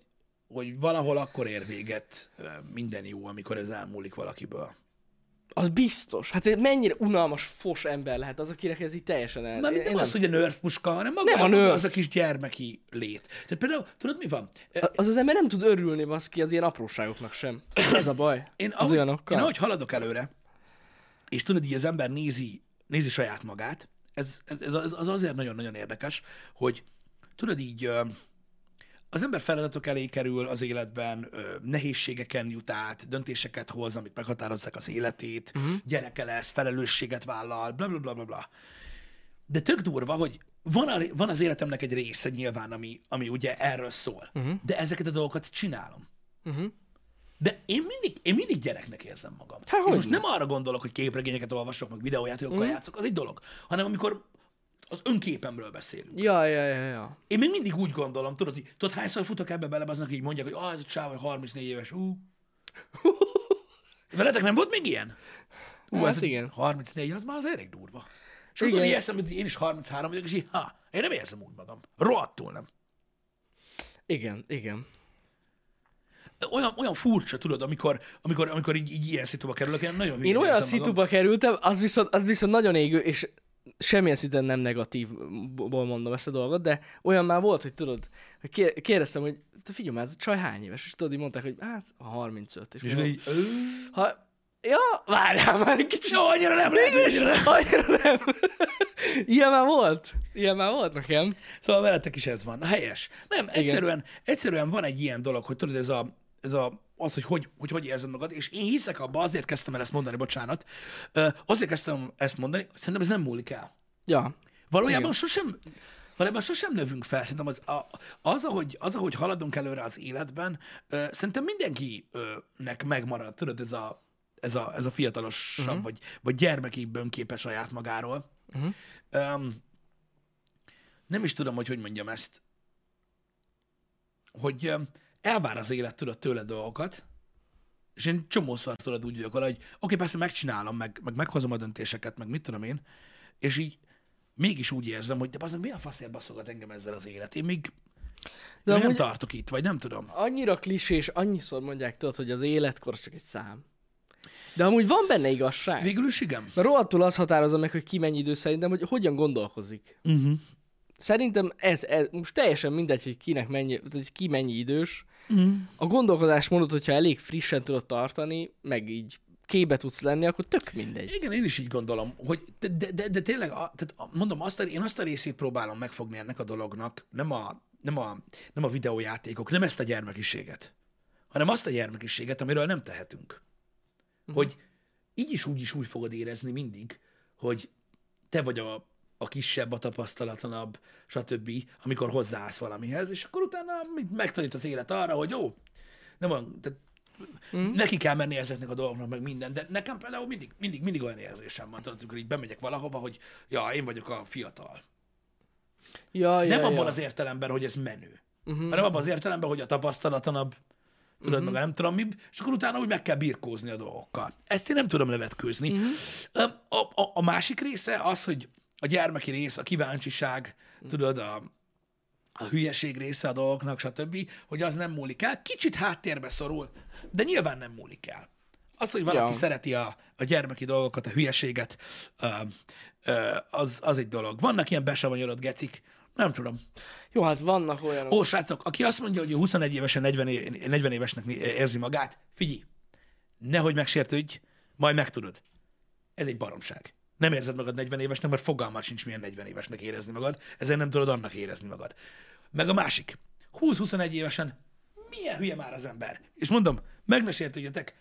Speaker 1: hogy valahol akkor ér véget ö, minden jó, amikor ez elmúlik valakiből.
Speaker 2: Az biztos. Hát ez mennyire unalmas, fos ember lehet az, akinek ez így teljesen el...
Speaker 1: Már
Speaker 2: Én-
Speaker 1: nem,
Speaker 2: én
Speaker 1: nem az, hogy a nerf puska, hanem maga,
Speaker 2: Nem a
Speaker 1: maga
Speaker 2: nerf.
Speaker 1: az a kis gyermeki lét. Tehát például, tudod mi van? Ö,
Speaker 2: A- Az az ember nem tud örülni baszki az ilyen apróságoknak sem. Ez a
Speaker 1: (coughs)
Speaker 2: baj.
Speaker 1: Én
Speaker 2: az
Speaker 1: ahogy,
Speaker 2: olyanokkal.
Speaker 1: én ahogy haladok előre, és tudod, így az ember nézi, nézi saját magát, ez, ez, ez, ez az azért nagyon-nagyon érdekes, hogy tudod így, ö, az ember feladatok elé kerül az életben, ö, nehézségeken jut át, döntéseket hoz, amik meghatározzák az életét,
Speaker 2: Mhm.
Speaker 1: uh-huh. gyereke lesz, felelősséget vállal, bla bla bla bla bla. De tök durva, hogy van, a, van az életemnek egy része nyilván, ami, ami ugye erről szól,
Speaker 2: Mhm.
Speaker 1: uh-huh. de ezeket a dolgokat csinálom. De én mindig, én mindig gyereknek érzem magam.
Speaker 2: Há,
Speaker 1: és
Speaker 2: Hát hogy
Speaker 1: most
Speaker 2: ne. Mhm.
Speaker 1: nem arra gondolok, hogy képregényeket olvasok, meg videójátékokkal mm. játszok, az egy dolog, hanem amikor az önképemről beszélünk.
Speaker 2: Ja, ja, ja, ja.
Speaker 1: Én még mindig úgy gondolom, tudod, hogy, tudod hányszor futok ebbe bele, aznak így mondják, hogy ah, ez a csáv, 34 éves,
Speaker 2: (laughs)
Speaker 1: ú. Veletek nem volt még ilyen? Ú,
Speaker 2: Hát
Speaker 1: ez a
Speaker 2: igen.
Speaker 1: 34, az már az elég durva. És akkor
Speaker 2: Igen.
Speaker 1: így eszembe, hogy én is 33 vagyok, és így, ha, én nem érzem úgy magam. Rohadtul nem.
Speaker 2: Igen, igen.
Speaker 1: Olyan, olyan furcsa, tudod, amikor, amikor, amikor így, így ilyen szituba kerülök, én nagyon
Speaker 2: Én
Speaker 1: hülyén
Speaker 2: olyan
Speaker 1: érzem magam.
Speaker 2: szituba kerültem, az viszont, az viszont nagyon égő, és semmilyen szinten nem negatívból mondom ezt a dolgot, de olyan már volt, hogy tudod, hogy ké- kérdeztem, hogy te figyelj már, ez a csaj hány éves? És tudod, így mondták, hogy hát 35. És,
Speaker 1: És akkor
Speaker 2: mondom,
Speaker 1: így, "Ö,
Speaker 2: ha... Ja, várjál már egy kicsit.
Speaker 1: Jó, annyira nem lehet, annyira nem.
Speaker 2: Annyira nem. (laughs) Ilyen már volt. Ilyen már volt nekem.
Speaker 1: Szóval veletek is ez van. Helyes. Nem, egyszerűen, egyszerűen van egy ilyen dolog, hogy tudod, ez a, ez a az, hogy hogy, hogy hogy érzed magad, és én hiszek abba, azért kezdtem el ezt mondani, bocsánat, Ö, azért kezdtem ezt mondani, hogy szerintem ez nem múlik el.
Speaker 2: Ja.
Speaker 1: Valójában
Speaker 2: Igen.
Speaker 1: sosem, valójában sosem növünk fel. Szerintem az, a, az, ahogy, az, ahogy haladunk előre az életben, ö, szerintem mindenkinek megmarad, tudod, ez a, ez a, ez a fiatalosabb, uh-huh. vagy, vagy gyermekibb önképe saját magáról. Uh-huh. Um, nem is tudom, hogy hogy mondjam ezt. Hogy öm, elvár az élet, tudod, tőle dolgokat, és én csomószor tudod úgy vagyok vele, hogy oké, persze megcsinálom, meg, meg meghozom a döntéseket, meg mit tudom én, és így mégis úgy érzem, hogy de bazdmeg mi a faszért baszogat engem ezzel az élet? Én még, de
Speaker 2: De
Speaker 1: még nem
Speaker 2: amúgy
Speaker 1: tartok itt, vagy nem tudom.
Speaker 2: annyira klisés, annyiszor mondják, tudod, hogy az életkor csak egy szám. De amúgy van benne igazság.
Speaker 1: Végül is igen.
Speaker 2: Mert rohadtul az határozza meg, hogy ki mennyi idő szerintem, hogy hogyan gondolkozik.
Speaker 1: Uh-huh.
Speaker 2: Szerintem ez, ez most teljesen mindegy, hogy kinek mennyi, hogy ki mennyi idős.
Speaker 1: Mhm.
Speaker 2: Mm. A gondolkodásmódot, hogyha elég frissen tudod tartani, meg így képbe tudsz lenni, akkor tök mindegy.
Speaker 1: Igen, én is így gondolom, hogy de, de, de, de tényleg, a, tehát a- mondom, azt a, én azt a részét próbálom megfogni ennek a dolognak, nem a, nem a, nem a videójátékok, nem ezt a gyermekiséget, hanem azt a gyermekiséget, amiről nem tehetünk. Hogy így is úgy is úgy fogod érezni mindig, hogy te vagy a, a kisebb, a tapasztalatlanabb, stb., amikor hozzáállsz valamihez, és akkor utána mit megtanít az élet arra, hogy jó, nem olyan, tehát Mm.
Speaker 2: Hm?
Speaker 1: Neki kell menni ezeknek a dolgoknak, meg minden, de nekem például mindig, mindig, mindig olyan érzésem van, tudod, amikor így bemegyek valahova, hogy ja, én vagyok a fiatal.
Speaker 2: Ja, ja,
Speaker 1: Nem
Speaker 2: ja. Mhm.
Speaker 1: abban az értelemben, hogy ez menő, uh-huh. hanem abban az értelemben, hogy a tapasztalatlanabb, tudod, uh-huh. meg a nem tudom mi, és akkor utána úgy meg kell birkózni a dolgokkal. Ezt én nem tudom levetkőzni.
Speaker 2: Mhm.
Speaker 1: Uh-huh. A, a, a másik része az, hogy a gyermeki rész, a kíváncsiság,
Speaker 2: Mhm.
Speaker 1: uh-huh. tudod, a, a hülyeség része a dolgoknak, stb., hogy az nem múlik el. Kicsit háttérbe szorul, de nyilván nem múlik el. Az, hogy valaki
Speaker 2: Ja.
Speaker 1: szereti a, a gyermeki dolgokat, a hülyeséget, ö, ö, az, az egy dolog. Vannak ilyen besavanyolott gecik, nem tudom.
Speaker 2: Jó, hát vannak olyanok.
Speaker 1: Ó, srácok, aki azt mondja, hogy ő 21 évesen 40, é- 40 évesnek né- érzi magát, figyelj, nehogy megsértődj, majd megtudod. Ez egy baromság. nem érzed magad 40 évesnek, mert fogalmat sincs, milyen 40 évesnek érezni magad, ezért nem tudod annak érezni magad. Meg a másik, 20-21 évesen milyen hülye már az ember? És mondom, meg ne sértődjetek,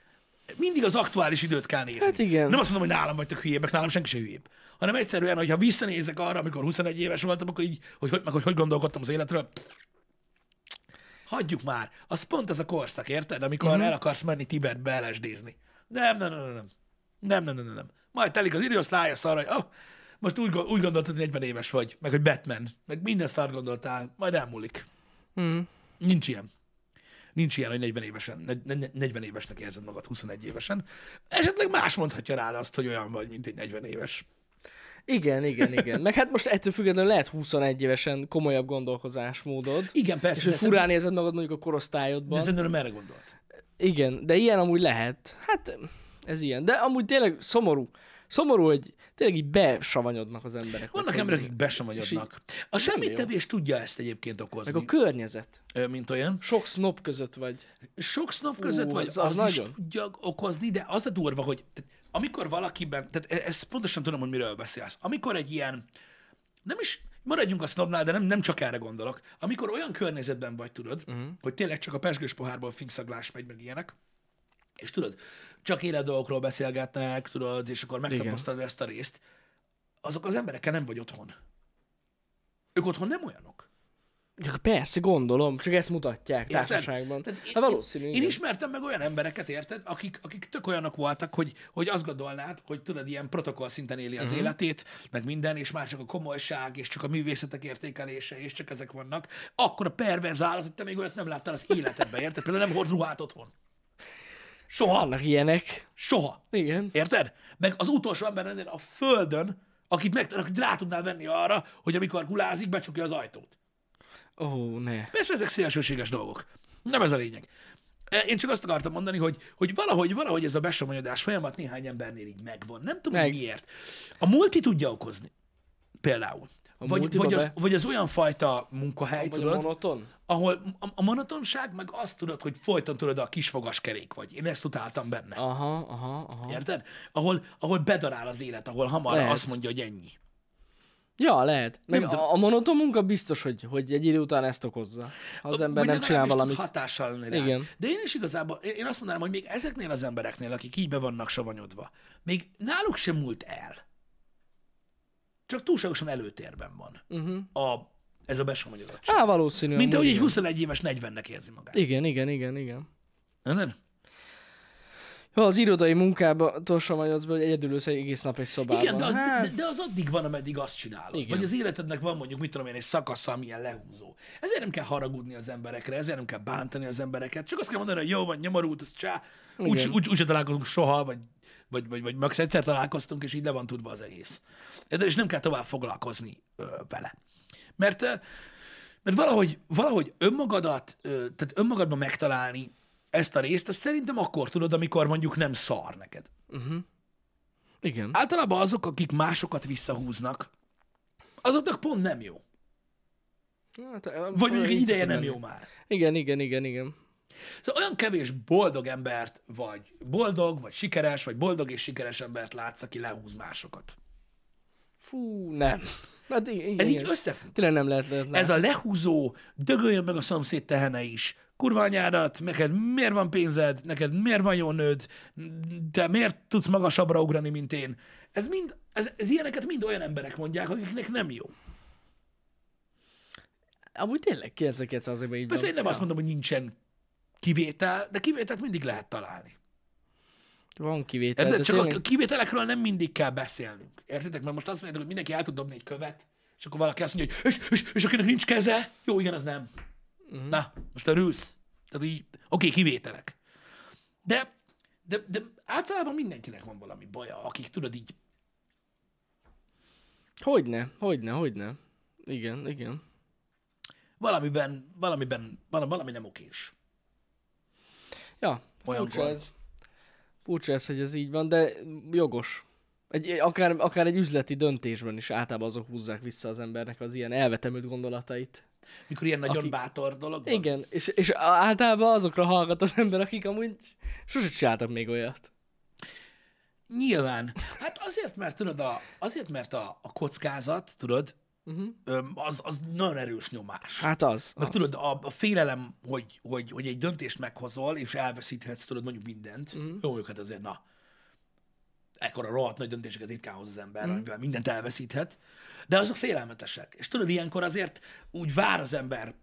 Speaker 1: mindig az aktuális időt kell nézni.
Speaker 2: Hát igen.
Speaker 1: Nem azt mondom, hogy nálam vagytok hülyébbek, nálam senki se hülyébb. Hanem egyszerűen, hogyha visszanézek arra, amikor 21 éves voltam, akkor így, hogy hogy, meg, hogy, hogy gondolkodtam az életről, hagyjuk már. Az pont ez a korszak, érted? Amikor
Speaker 2: Mhm.
Speaker 1: uh-huh. el akarsz menni Tibetbe LSD-zni. Nem, nem, nem, nem, nem. Nem, nem, nem, nem, nem. Majd telik az idő, azt rájössz arra, hogy oh, most úgy, gond- úgy gondoltad, hogy 40 éves vagy, meg hogy Batman, meg minden szar gondoltál, majd elmúlik.
Speaker 2: Mm.
Speaker 1: Nincs ilyen. Nincs ilyen, hogy 40 évesen, negy- negy- 40 évesnek érzed magad 21 évesen. Esetleg más mondhatja rád azt, hogy olyan vagy, mint egy 40 éves.
Speaker 2: Igen, igen, igen. Meg hát most ettől függetlenül lehet 21 évesen komolyabb gondolkozásmódod.
Speaker 1: Igen,
Speaker 2: És
Speaker 1: persze,
Speaker 2: hogy
Speaker 1: de, furán...
Speaker 2: furán érzed magad mondjuk a
Speaker 1: de
Speaker 2: korosztályodban.
Speaker 1: szerintem erre gondolt.
Speaker 2: Igen, de ilyen amúgy lehet. Hát ez ilyen. De amúgy tényleg szomorú. Szomorú, hogy tényleg így besavanyodnak az emberek.
Speaker 1: Vannak
Speaker 2: otthon.
Speaker 1: emberek, akik besamagyodnak. A semmit
Speaker 2: jó.
Speaker 1: tevés tudja ezt egyébként okozni,
Speaker 2: Meg a környezet.
Speaker 1: ö, mint olyan.
Speaker 2: Sok snob között vagy.
Speaker 1: sok sznop között vagy, az,
Speaker 2: az-
Speaker 1: az
Speaker 2: az
Speaker 1: is
Speaker 2: nagyon.
Speaker 1: tudja okozni, de az a durva, hogy tehát, amikor valakiben, tehát e- ezt pontosan tudom, hogy miről beszélsz, amikor egy ilyen, nem is, maradjunk a sznobnál, de nem, nem csak erre gondolok, amikor olyan környezetben vagy, tudod,
Speaker 2: Mhm.
Speaker 1: uh-huh. hogy tényleg csak a pesgős pohárból fingszaglás megy, meg ilyenek, és tudod, csak élet dolgokról beszélgetnek, tudod, és akkor megtapasztalod ezt a részt, azok az emberekkel nem vagy otthon. Ők otthon nem olyanok.
Speaker 2: Csak persze, gondolom, csak ezt mutatják
Speaker 1: Érted?
Speaker 2: társaságban.
Speaker 1: Tehát én-
Speaker 2: Hát valószínű.
Speaker 1: Én
Speaker 2: igen.
Speaker 1: ismertem meg olyan embereket, érted, akik, akik tök olyanok voltak, hogy, hogy azt gondolnád, hogy tudod, ilyen protokoll szinten éli
Speaker 2: Mhm.
Speaker 1: az uh-huh. életét, meg minden, és már csak a komolyság, és csak a művészetek értékelése, és csak ezek vannak. Akkor a perverz állat, hogy te még olyat nem láttál az életedben, érted? Például nem hord ruhát otthon. Soha,
Speaker 2: Vannak ilyenek.
Speaker 1: soha.
Speaker 2: Igen.
Speaker 1: Érted? Meg az utolsó ember lennél a földön, akit, meg, akit rá tudnál venni arra, hogy amikor gulázik, becsukja az ajtót.
Speaker 2: Ó, oh, ne.
Speaker 1: Persze ezek szélsőséges dolgok. Nem ez a lényeg. E, Én csak azt akartam mondani, hogy, hogy valahogy, valahogy ez a besomanyodás folyamat néhány embernél így megvan. Nem tudom, Meg.
Speaker 2: Meg.
Speaker 1: miért. A multi tudja okozni. Például.
Speaker 2: A
Speaker 1: vagy,
Speaker 2: multiba
Speaker 1: vagy, az,
Speaker 2: be-
Speaker 1: vagy az olyan fajta munkahely,
Speaker 2: Vagy a
Speaker 1: tudod,
Speaker 2: monoton?
Speaker 1: ahol a, a monotonság, meg azt tudod, hogy folyton tudod, a kisfogaskerék vagy. Én ezt utáltam benne.
Speaker 2: Aha, aha, aha.
Speaker 1: Érted? Ahol, ahol bedarál az élet, ahol hamar
Speaker 2: Lehet.
Speaker 1: azt mondja, hogy ennyi.
Speaker 2: Ja, lehet. Meg
Speaker 1: Nem tudom.
Speaker 2: a, a monoton munka biztos, hogy, hogy egy idő után ezt okozza. Ha az ember
Speaker 1: Vagy
Speaker 2: nem
Speaker 1: legalábbis
Speaker 2: csinál
Speaker 1: tud
Speaker 2: valamit.
Speaker 1: hatással lenni rád.
Speaker 2: Igen.
Speaker 1: De én is igazából, én én azt mondanám, hogy még ezeknél az embereknél, akik így be vannak savanyodva, még náluk sem múlt el. Csak túlságosan előtérben van
Speaker 2: Uh-huh.
Speaker 1: a, ez a besavanyodottság.
Speaker 2: Á, valószínű.
Speaker 1: Mint
Speaker 2: amúgy
Speaker 1: ahogy egy
Speaker 2: Hát, igen.
Speaker 1: 21 éves 40-nek érzi magát.
Speaker 2: Igen, igen, igen, igen.
Speaker 1: Nem?
Speaker 2: Ja, az irodai munkába torsan vagyodsz be, hogy egyedül ülsz egész nap egy szobában.
Speaker 1: Igen, de az,
Speaker 2: hát,
Speaker 1: de, de az addig van, ameddig azt csinálod. Igen.
Speaker 2: Igen.
Speaker 1: Vagy az életednek van mondjuk, mit tudom én, egy szakasza, amilyen lehúzó. Ezért nem kell haragudni az emberekre, ezért nem kell bántani az embereket. Csak azt kell mondani, hogy jó van, nyomorult, az csá. Úgy,
Speaker 2: Igen.
Speaker 1: úgy, úgy se találkozunk soha, vagy, vagy, vagy, vagy max. egyszer találkoztunk, és így le van tudva az egész. Ezzel is nem kell tovább foglalkozni ö, vele. Mert, ö, mert valahogy, valahogy önmagadat, ö, tehát önmagadban megtalálni ezt a részt, azt szerintem akkor tudod, amikor mondjuk nem szar neked.
Speaker 2: igen.
Speaker 1: Általában azok, akik másokat visszahúznak, azoknak pont nem jó.
Speaker 2: Hát,
Speaker 1: Vagy mondjuk egy
Speaker 2: így
Speaker 1: ideje
Speaker 2: szokott
Speaker 1: nem
Speaker 2: lenni.
Speaker 1: jó már.
Speaker 2: Igen, igen, igen, igen.
Speaker 1: Szóval olyan kevés boldog embert, vagy boldog, vagy sikeres, vagy boldog és sikeres embert látsz, aki lehúz másokat.
Speaker 2: Fú, nem. Hát i- igen,
Speaker 1: Ez így
Speaker 2: igen.
Speaker 1: összefügg.
Speaker 2: Tényleg nem lehet, lehet, lehet.
Speaker 1: Ez a lehúzó, dögöljön meg a szomszéd tehene is. Kurványárat, neked miért van pénzed, neked miért van jó nőd, te miért tudsz magasabbra ugrani, mint én. Ez mind, ez, ez ilyeneket mind olyan emberek mondják, akiknek nem jó.
Speaker 2: Amúgy tényleg 99 azért így
Speaker 1: Persze
Speaker 2: van.
Speaker 1: én nem
Speaker 2: ja.
Speaker 1: azt mondom, hogy nincsen kivétel, de kivételt mindig lehet találni.
Speaker 2: Van kivétel,
Speaker 1: Érted?
Speaker 2: de
Speaker 1: Csak
Speaker 2: tényleg...
Speaker 1: a kivételekről nem mindig kell beszélnünk. Értitek? Mert most azt mondjátok, hogy mindenki el tud dobni egy követ, és akkor valaki azt mondja, hogy és, és, és akinek nincs keze, jó, igen, az nem.
Speaker 2: Mhm.
Speaker 1: Uh-huh. Na, most örülsz. Tehát így, oké, okay, kivételek. De, de, de általában mindenkinek van valami baja, akik tudod így,
Speaker 2: Hogyne, hogyne, hogyne. Igen, igen.
Speaker 1: valamiben, valamiben, vala- valami nem okés.
Speaker 2: Ja,
Speaker 1: Olyankor.
Speaker 2: furcsa ez. Furcsa ez, hogy ez így van, de jogos. Egy, akár, akár egy üzleti döntésben is általában azok húzzák vissza az embernek az ilyen elvetemült gondolatait.
Speaker 1: Mikor ilyen nagyon Aki... bátor dolog van.
Speaker 2: Igen, és, és általában azokra hallgat az ember, akik amúgy sose csináltak még olyat.
Speaker 1: Nyilván. Hát azért, mert tudod, a, azért, mert a, a kockázat, tudod, uh-huh. az, az nagyon erős nyomás.
Speaker 2: Mhm. Hát az.
Speaker 1: Meg
Speaker 2: az.
Speaker 1: tudod, a, a félelem, hogy, hogy, hogy egy döntést meghozol, és elveszíthetsz, tudod, mondjuk mindent.
Speaker 2: Mhm.
Speaker 1: Mm. Jó, mondjuk hát azért, na, ekkora rohadt nagy döntéseket ritkán hoz az ember,
Speaker 2: Mhm.
Speaker 1: mm. amivel mindent elveszíthet, de azok félelmetesek. És tudod, ilyenkor azért úgy vár az ember,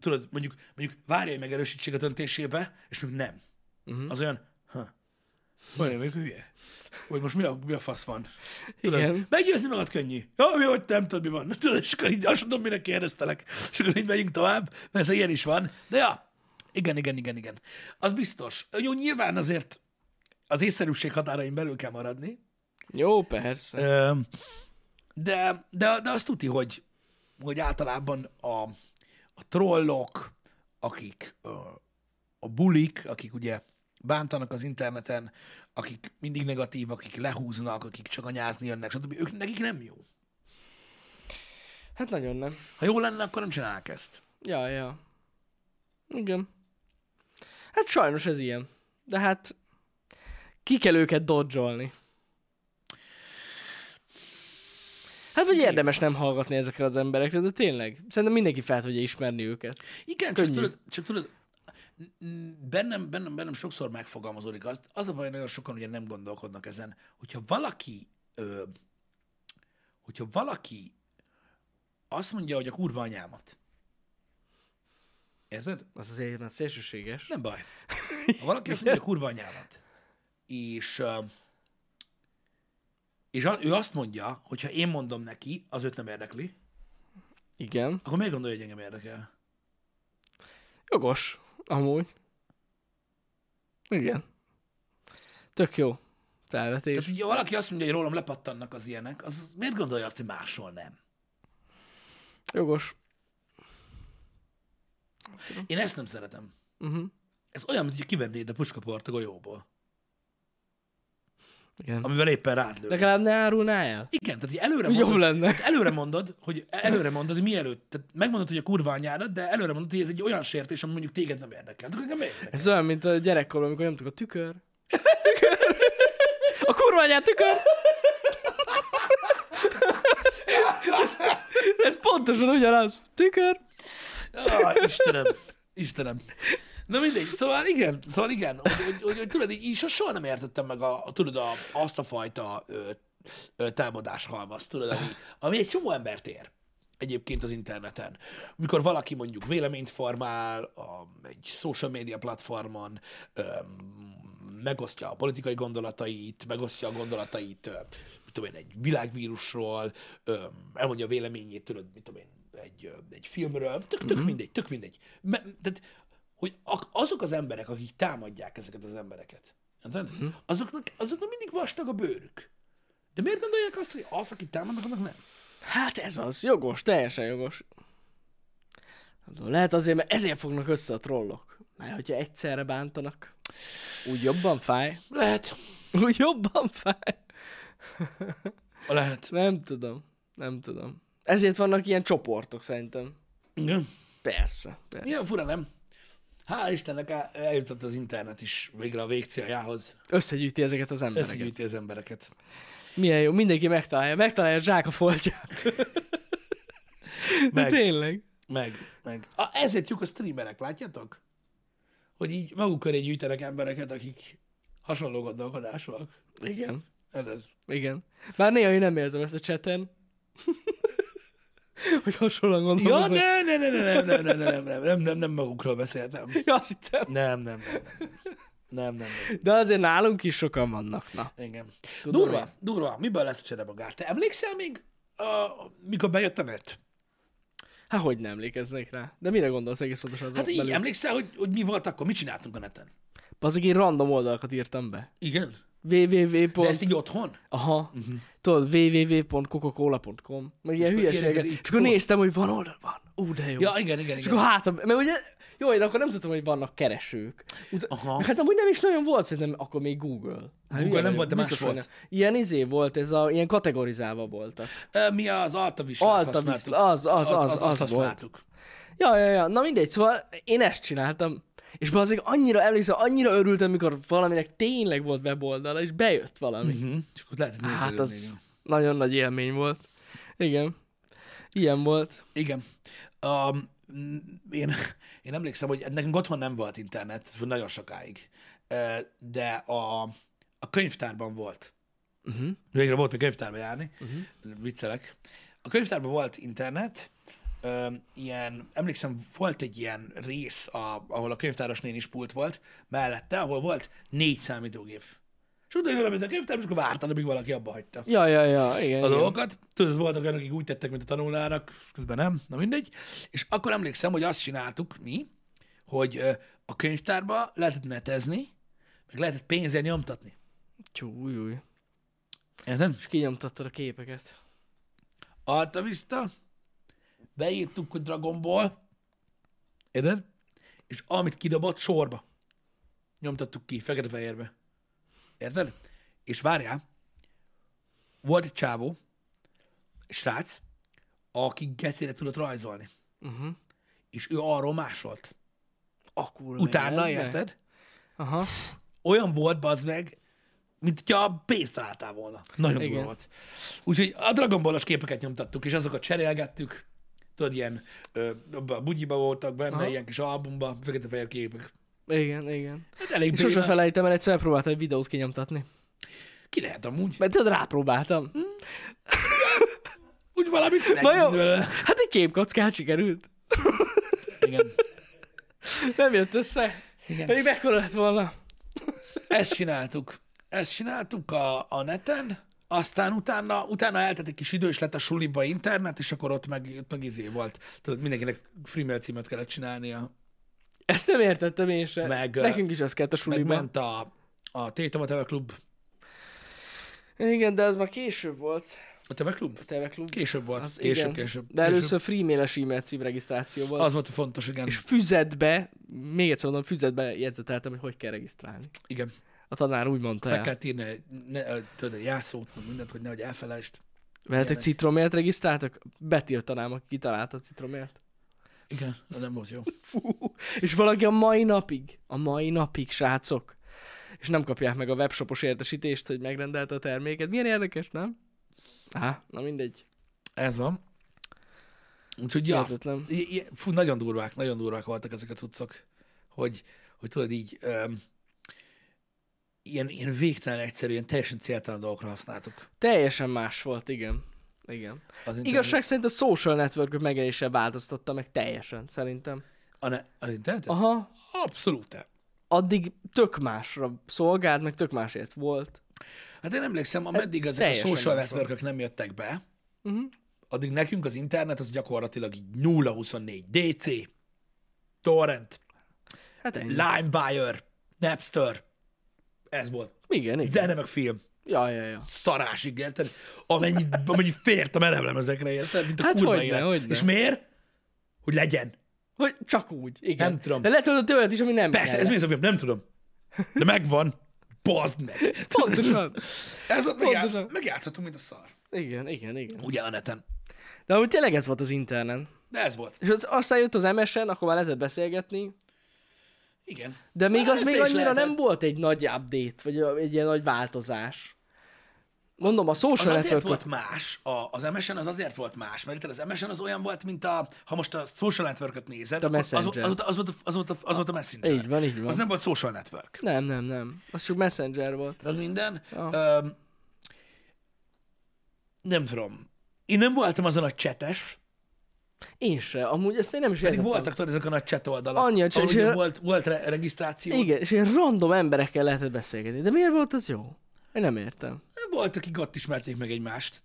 Speaker 1: tudod, mondjuk, mondjuk várja, hogy megerősítsék a döntésébe, és még nem. Mm. Az olyan, ha, olyan, még hülye. Hogy most mi a, mi a fasz van? Tudod,
Speaker 2: Igen.
Speaker 1: Meggyőzni magad könnyű. Jó, mi hogy nem tudod, mi van. (laughs) Tudod, és akkor így azt tudom, mire kérdeztelek. És akkor így megyünk tovább, mert ez ilyen is van. De ja, igen, igen, igen, igen. Az biztos. Jó, nyilván azért az észszerűség határain belül kell maradni,
Speaker 2: Jó, persze.
Speaker 1: Ö, de, de, de azt tudni, hogy, hogy általában a, a trollok, akik ö, a bulik, akik ugye bántanak az interneten, akik mindig negatív, akik lehúznak, akik csak anyázni jönnek, stb. Ők, nekik nem jó.
Speaker 2: Hát nagyon nem.
Speaker 1: Ha jó lenne, akkor nem csinálnák ezt.
Speaker 2: Ja, ja. Igen. Hát sajnos ez ilyen. De hát ki kell őket dodzsolni. Hát, hogy érdemes nem hallgatni ezekre az emberekre, de tényleg. Szerintem mindenki fel tudja ismerni őket.
Speaker 1: Igen, csak
Speaker 2: Könnyű.
Speaker 1: tudod, csak tudod, n- n- bennem, bennem, bennem sokszor megfogalmazódik az, az a baj, nagyon sokan ugye nem gondolkodnak ezen, hogyha valaki, ö, hogyha valaki azt mondja, hogy a kurva anyámat, érted?
Speaker 2: Az azért mert szélsőséges.
Speaker 1: Nem baj. Ha valaki azt mondja, kurva anyámat, és, ö, és a, ő azt mondja, hogy ha én mondom neki, az őt nem érdekli,
Speaker 2: Igen.
Speaker 1: akkor miért gondolja, hogy engem érdekel?
Speaker 2: Jogos, amúgy. Igen. Tök jó
Speaker 1: Tehát,
Speaker 2: felvetés.
Speaker 1: hogyha valaki azt mondja, hogy rólam lepattannak az ilyenek, az miért gondolja azt, hogy máshol nem?
Speaker 2: Jogos.
Speaker 1: Én ezt nem szeretem.
Speaker 2: Uh-huh.
Speaker 1: Ez olyan, mint hogy kivennéd a puskaport a golyóból,
Speaker 2: Igen.
Speaker 1: amivel éppen rád lő.
Speaker 2: Legalább ne árulná el.
Speaker 1: Igen, tehát hogy előre
Speaker 2: Jobb
Speaker 1: mondod,
Speaker 2: lenne.
Speaker 1: tehát előre mondod, hogy előre mondod, hogy mielőtt, tehát megmondod, hogy a kurva anyádat, de előre mondod, hogy ez egy olyan sértés, ami mondjuk téged nem érdekel. Tehát engem érdekel.
Speaker 2: Ez olyan, mint a gyerekkorban, amikor nyomtuk a tükör. Tükör. A kurva anyád tükör! Ez, ez pontosan ugyanaz. Tükör.
Speaker 1: Ah, Istenem, Istenem. Na mindegy, szóval igen, szóval igen, hogy, hogy, hogy, hogy tudod, így így soha nem értettem meg a, a tudod, a, azt a fajta ö, ö, támadás halmaz, tudod, ami, ami egy csomó embert ér egyébként az interneten. Mikor valaki mondjuk véleményt formál a, egy social media platformon, ö, megosztja a politikai gondolatait, megosztja a gondolatait, ö, mit tudom én, egy világvírusról, ö, elmondja a véleményét, tudod, mit tudom én, egy, ö, egy filmről, tök, tök mindegy, tök mindegy. Me- tehát, hogy ak- azok az emberek, akik támadják ezeket az embereket, érted? azoknak, azoknak mindig vastag a bőrük. De miért gondolják azt, hogy az, akit támadnak, annak nem?
Speaker 2: Hát ez az, jogos, teljesen jogos. Nem tudom, lehet azért, mert ezért fognak össze a trollok. Mert hogyha egyszerre bántanak, úgy jobban fáj.
Speaker 1: Lehet.
Speaker 2: (laughs) Úgy jobban fáj.
Speaker 1: Lehet.
Speaker 2: Nem tudom, nem tudom. Ezért vannak ilyen csoportok szerintem.
Speaker 1: Igen.
Speaker 2: Persze, persze.
Speaker 1: Milyen fura, nem? Hála Istennek el- eljutott az internet is végre a végcéljához.
Speaker 2: Összegyűjti ezeket az embereket.
Speaker 1: Összegyűjti az embereket.
Speaker 2: Milyen jó, mindenki megtalálja, megtalálja a zsák a (laughs) foltját. De
Speaker 1: Meg.
Speaker 2: tényleg.
Speaker 1: Meg, meg. A, ezért jók a streamerek, látjátok? Hogy így maguk köré gyűjtenek embereket, akik hasonló gondolkodásúak.
Speaker 2: Igen,
Speaker 1: Érted?
Speaker 2: igen. Bár néha én nem érzem ezt a cseten. (laughs) hogy hasonlóan
Speaker 1: Ja,
Speaker 2: gondolkoznak.
Speaker 1: ne, ne, ne, ne, ne, ne, ne, ne, nem, nem, nem, nem magukról beszéltem.
Speaker 2: Ja, azt hittem.
Speaker 1: Nem, nem, nem, nem, nem, nem, nem.
Speaker 2: De azért nálunk is sokan vannak, na.
Speaker 1: Igen.
Speaker 2: Tudom
Speaker 1: durva,
Speaker 2: én.
Speaker 1: durva. Miből lesz a cserebogár? Te emlékszel még, uh, mikor bejött a net?
Speaker 2: Hát hogy nem emlékeznék rá? De mire gondolsz egész pontosan az
Speaker 1: Hát így,
Speaker 2: belül?
Speaker 1: emlékszel, hogy, hogy mi volt akkor? Mit csináltunk a neten?
Speaker 2: Azok én random oldalakat írtam be.
Speaker 1: Igen.
Speaker 2: www.
Speaker 1: De ezt Mhm. így otthon?
Speaker 2: Aha. Uh-huh. Tudod, www.coca-cola.com. Meg ilyen
Speaker 1: akkor
Speaker 2: hülyeségeket.
Speaker 1: ilyeneket így-
Speaker 2: És akkor néztem, hogy van oldal, van. Ú, de jó.
Speaker 1: Ja, igen, igen,
Speaker 2: És
Speaker 1: igen.
Speaker 2: akkor hát, mert ugye, jó, én akkor nem tudtam, hogy vannak keresők. Ut-
Speaker 1: Aha.
Speaker 2: Hát amúgy nem is nagyon volt szerintem akkor még Google. Hát
Speaker 1: Ah. Google
Speaker 2: ugye,
Speaker 1: nem volt, de más
Speaker 2: biztos, hogy
Speaker 1: volt.
Speaker 2: nem. Ilyen izé volt, ez a, ilyen kategorizálva voltak.
Speaker 1: Ö, Mi az Altavislát
Speaker 2: Alta
Speaker 1: használtuk.
Speaker 2: az, az, az, az, az, az, az, az, az, az, az, az, az, az,
Speaker 1: azt
Speaker 2: az volt.
Speaker 1: használtuk.
Speaker 2: Ja, ja, ja. Na mindegy, szóval én ezt csináltam. És bazeg annyira elhiszem, annyira örültem, mikor valaminek tényleg volt weboldala, és bejött valami.
Speaker 1: Uh-huh. És akkor lehet, hogy
Speaker 2: Hát
Speaker 1: nézelődnél.
Speaker 2: az nagyon nagy élmény volt. Igen. Ilyen volt.
Speaker 1: Igen. Um, én, (laughs) én emlékszem, hogy nekünk otthon nem volt internet, nagyon sokáig. Ö, De a, a könyvtárban volt.
Speaker 2: Uh-huh.
Speaker 1: Végre volt még könyvtárba járni. Uh-huh. Viccelek. A könyvtárban volt internet, ö, ilyen, emlékszem, volt egy ilyen rész, a, ahol a könyvtáros néni is pult volt, mellette, ahol volt négy számítógép. És utána jön, mint a könyvtár, és akkor vártad, amíg valaki abba hagyta
Speaker 2: Ja, ja, ja, igen.
Speaker 1: a
Speaker 2: igen.
Speaker 1: dolgokat. Tudod, voltak olyanok, akik úgy tettek, mint a tanulnának, közben nem, na mindegy. És akkor emlékszem, hogy azt csináltuk mi, hogy ö, a könyvtárba lehetett netezni, meg lehetett pénzzel nyomtatni.
Speaker 2: Tyú, új, új.
Speaker 1: Érted?
Speaker 2: És kinyomtattad a képeket.
Speaker 1: Alta Vista, beírtuk, hogy Dragon Ball, érted? És amit kidobott, sorba. Nyomtattuk ki, fekete-fehérbe. Érted? És várjál, volt egy csávó, egy srác, aki gecére tudott rajzolni.
Speaker 2: Uh-huh.
Speaker 1: És ő arról másolt.
Speaker 2: Akkor
Speaker 1: Utána, érted?
Speaker 2: Aha.
Speaker 1: Olyan volt, bazd meg, mint hogyha a pénzt találtál volna. Nagyon durva
Speaker 2: Igen.
Speaker 1: volt. Úgyhogy a Dragon Ball-os képeket nyomtattuk, és azokat cserélgettük. Tudod, ilyen ö, abba a bugyiba voltak benne, Aha.
Speaker 2: Aha.
Speaker 1: ilyen kis albumba, fekete-fehér képek.
Speaker 2: Igen, igen.
Speaker 1: Hát elég
Speaker 2: És sose
Speaker 1: béna.
Speaker 2: felejtem el, egyszer próbáltam egy videót kinyomtatni.
Speaker 1: Ki lehet amúgy?
Speaker 2: Mert tudod, rápróbáltam.
Speaker 1: Úgy valamit ki
Speaker 2: Na
Speaker 1: lehet
Speaker 2: jó,
Speaker 1: tudni belőle.
Speaker 2: hát egy képkockát sikerült.
Speaker 1: Igen.
Speaker 2: Nem jött össze.
Speaker 1: Igen.
Speaker 2: Pedig mekkora lett volna.
Speaker 1: Ezt csináltuk. Ezt csináltuk a, a neten, aztán utána, utána eltett egy kis idő, és lett a suliba internet, és akkor ott meg, ott meg izé volt. Tudod, mindenkinek free mail címet kellett csinálnia.
Speaker 2: Ezt nem értettem én sem.
Speaker 1: Meg, ö,
Speaker 2: Nekünk is az kellett a
Speaker 1: Meg
Speaker 2: suliban.
Speaker 1: ment a, a Tétova Teve Klub.
Speaker 2: Igen, de az már később volt.
Speaker 1: A Teve Klub?
Speaker 2: A TV Klub.
Speaker 1: Később volt.
Speaker 2: Az
Speaker 1: később,
Speaker 2: igen.
Speaker 1: később.
Speaker 2: De először freemailes e-mail cím regisztráció volt.
Speaker 1: Később. Az volt a fontos, igen.
Speaker 2: És füzetbe, még egyszer mondom, füzetbe jegyzeteltem, hogy hogy kell regisztrálni.
Speaker 1: igen.
Speaker 2: A tanár úgy mondta
Speaker 1: Fel
Speaker 2: el.
Speaker 1: kellett írni, egy- ne, ö, tudod, egy jelszót, meg mindent, hogy nehogy elfelejtsd.
Speaker 2: Vehetek
Speaker 1: ilyenek.
Speaker 2: citromért regisztráltak? Betiltanám, aki kitalálta a citromért.
Speaker 1: Igen, az nem volt jó.
Speaker 2: Fú. És valaki a mai napig, a mai napig, srácok, és nem kapják meg a webshopos értesítést, hogy megrendelte a terméket. Milyen érdekes, nem? Á, na mindegy.
Speaker 1: Ez van. Úgyhogy, ja.
Speaker 2: Értetlen.
Speaker 1: I- i- Fú, nagyon durvák, nagyon durvák voltak ezek a cuccok, hogy, hogy tudod így, um, ilyen, ilyen végtelen egyszerű, ilyen teljesen céltalan dolgokra használtuk.
Speaker 2: Teljesen más volt, igen. Igen.
Speaker 1: Az internet,
Speaker 2: Igazság szerint a social network megjelenése változtatta meg teljesen, szerintem.
Speaker 1: A ne, az internetet? Aha.
Speaker 2: Aha,
Speaker 1: Abszolút.
Speaker 2: addig tök másra szolgált, meg tök másért volt.
Speaker 1: Hát én emlékszem, ameddig ezek a
Speaker 2: teljesen
Speaker 1: social
Speaker 2: más volt.
Speaker 1: networkök nem jöttek be,
Speaker 2: Mhm.
Speaker 1: addig nekünk az internet az gyakorlatilag így 0-24 DC, Torrent,
Speaker 2: Hát ennyi. Lá-
Speaker 1: Limewire, Napster, ez volt.
Speaker 2: igen, igen.
Speaker 1: Zene meg film.
Speaker 2: Ja, ja, ja.
Speaker 1: szarásig, érted? Amennyi, amennyi fért a melemlemezekre, érted? Mint a
Speaker 2: Hát
Speaker 1: kurva
Speaker 2: hogyne,
Speaker 1: élet.
Speaker 2: hogyne.
Speaker 1: És miért? Hogy legyen.
Speaker 2: Hogy csak úgy, igen.
Speaker 1: Nem tudom.
Speaker 2: De lehet, hogy olyat is, ami nem
Speaker 1: Persze, ez mi az a film? Nem tudom. De megvan. Bazd meg.
Speaker 2: Pontosan.
Speaker 1: Ez volt, megjá-
Speaker 2: Pontosan.
Speaker 1: megjátszhatunk, mint a szar.
Speaker 2: Igen, igen, igen.
Speaker 1: Ugye a neten.
Speaker 2: De amúgy tényleg ez volt az internet.
Speaker 1: De ez volt.
Speaker 2: És az, aztán jött az MSN, akkor már lehetett beszélgetni,
Speaker 1: Igen.
Speaker 2: de még az
Speaker 1: Hát,
Speaker 2: még
Speaker 1: te is
Speaker 2: annyira
Speaker 1: lehetett.
Speaker 2: nem volt egy nagy update, vagy egy ilyen nagy változás. Mondom, a
Speaker 1: Az
Speaker 2: social
Speaker 1: azért
Speaker 2: network
Speaker 1: volt más, a, az MSN az azért volt más, mert érted, az MSN az olyan volt, mint a, ha most a social networköt nézed,
Speaker 2: A
Speaker 1: akkor az, az,
Speaker 2: Messenger.
Speaker 1: volt, az, volt, a- az, volt, a- az volt a messenger.
Speaker 2: Így van, így van.
Speaker 1: Az nem volt social network.
Speaker 2: Nem, nem, nem. Az csak messenger volt.
Speaker 1: meg minden.
Speaker 2: Ja.
Speaker 1: Öm, nem tudom. Én nem voltam az a nagy csetes,
Speaker 2: Én se. Amúgy ezt én nem is
Speaker 1: pedig
Speaker 2: értettem.
Speaker 1: voltak tudod ezek a nagy chat oldalak.
Speaker 2: Annyi a chat-
Speaker 1: ahol
Speaker 2: és-
Speaker 1: ugye volt, volt re- regisztráció.
Speaker 2: Igen, és ilyen random emberekkel lehetett beszélgetni. De miért volt az jó? Én nem értem.
Speaker 1: Volt, Hát akik ott ismerték meg egymást.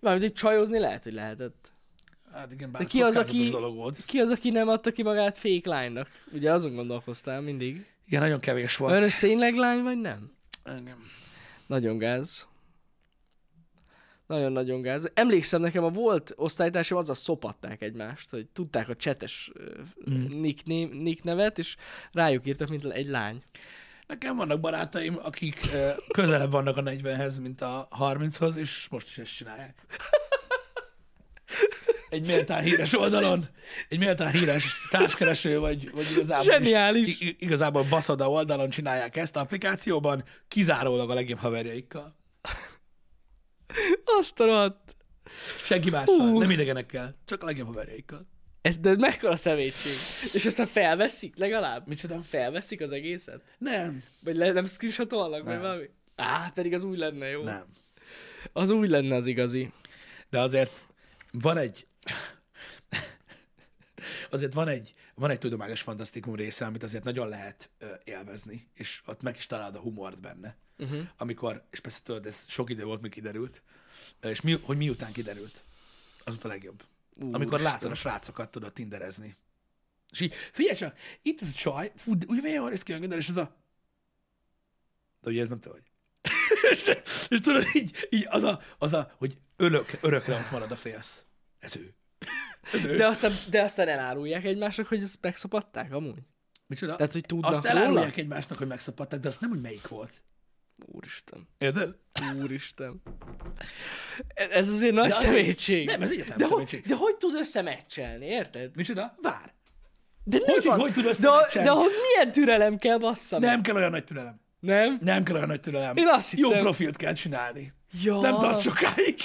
Speaker 2: Mármint, hogy csajozni lehet, hogy lehetett.
Speaker 1: Hát igen, bár
Speaker 2: De ki az,
Speaker 1: kockázatos
Speaker 2: aki-
Speaker 1: dolog volt.
Speaker 2: Ki az, aki nem adta ki magát fake lánynak? Ugye azon gondolkoztál mindig.
Speaker 1: Igen, nagyon kevés volt.
Speaker 2: Ön ez tényleg lány, vagy nem?
Speaker 1: Igen.
Speaker 2: Nagyon gáz. Nagyon-nagyon gáz. Emlékszem, nekem a volt osztálytársam azzal szopatták egymást, hogy tudták a csetes mm. nick, né- nick nevet, és rájuk írtak, mint egy lány.
Speaker 1: Nekem vannak barátaim, akik ö, közelebb vannak a 40-hez, mint a 30-hoz, és most is ezt csinálják. egy méltán híres oldalon, egy méltán híres társkereső, vagy, vagy igazából,
Speaker 2: Zseniális.
Speaker 1: Is, i- igazából baszada oldalon csinálják ezt applikációban, kizárólag a legjobb haverjaikkal.
Speaker 2: Azt a rohadt.
Speaker 1: Senki mással,
Speaker 2: Hú.
Speaker 1: nem idegenekkel, csak a legjobb haverjaikkal.
Speaker 2: Ez de mekkora szemétség. És aztán felveszik legalább?
Speaker 1: Micsoda?
Speaker 2: Felveszik az egészet?
Speaker 1: Nem,
Speaker 2: Vagy le, nem screenshotolnak, vagy
Speaker 1: Nem.
Speaker 2: valami? Á, pedig az úgy lenne jó.
Speaker 1: nem.
Speaker 2: Az úgy lenne az igazi.
Speaker 1: De azért van egy... Azért van egy, van egy tudományos fantasztikum része, amit azért nagyon lehet ö, élvezni, és ott meg is találod a humort benne. Uh-huh. Amikor, és persze tudod, ez sok idő volt, míg kiderült, ö, és mi, hogy miután kiderült, az ott a legjobb. amikor látod a srácokat tudod tinderezni. És így, figyelj csak, itt ez a csaj, fú, de úgy milyen jól néz ki a göndör, és ez a... De ugye ez nem te vagy. (laughs) és, és tudod, így, így az, a, az a, hogy örök, örökre ott marad a félsz. Ez ő. ez ő.
Speaker 2: De
Speaker 1: De...
Speaker 2: aztán, de aztán elárulják egymásnak, hogy ezt megszapadták amúgy.
Speaker 1: Micsoda?
Speaker 2: Tehát, hogy tudnak
Speaker 1: Azt
Speaker 2: róla?
Speaker 1: elárulják egymásnak, hogy megszapadták, de azt nem, hogy melyik volt.
Speaker 2: Úristen.
Speaker 1: Érted?
Speaker 2: Úristen. E-, Ez ez azért nagy
Speaker 1: De az-
Speaker 2: szemétség.
Speaker 1: nem, ez egyetlen
Speaker 2: de,
Speaker 1: szemétség.
Speaker 2: Hogy, de hogy tud összemeccselni, érted?
Speaker 1: Micsoda? Vár.
Speaker 2: De nem
Speaker 1: Hogy-
Speaker 2: van.
Speaker 1: hogy tud
Speaker 2: de,
Speaker 1: összemeccselni?
Speaker 2: de ahhoz milyen türelem kell, bassza meg?
Speaker 1: Nem kell olyan nagy türelem.
Speaker 2: Nem?
Speaker 1: Nem kell olyan nagy türelem.
Speaker 2: Én azt
Speaker 1: Jó
Speaker 2: hittem.
Speaker 1: profilt kell csinálni.
Speaker 2: Ja.
Speaker 1: Nem tart sokáig.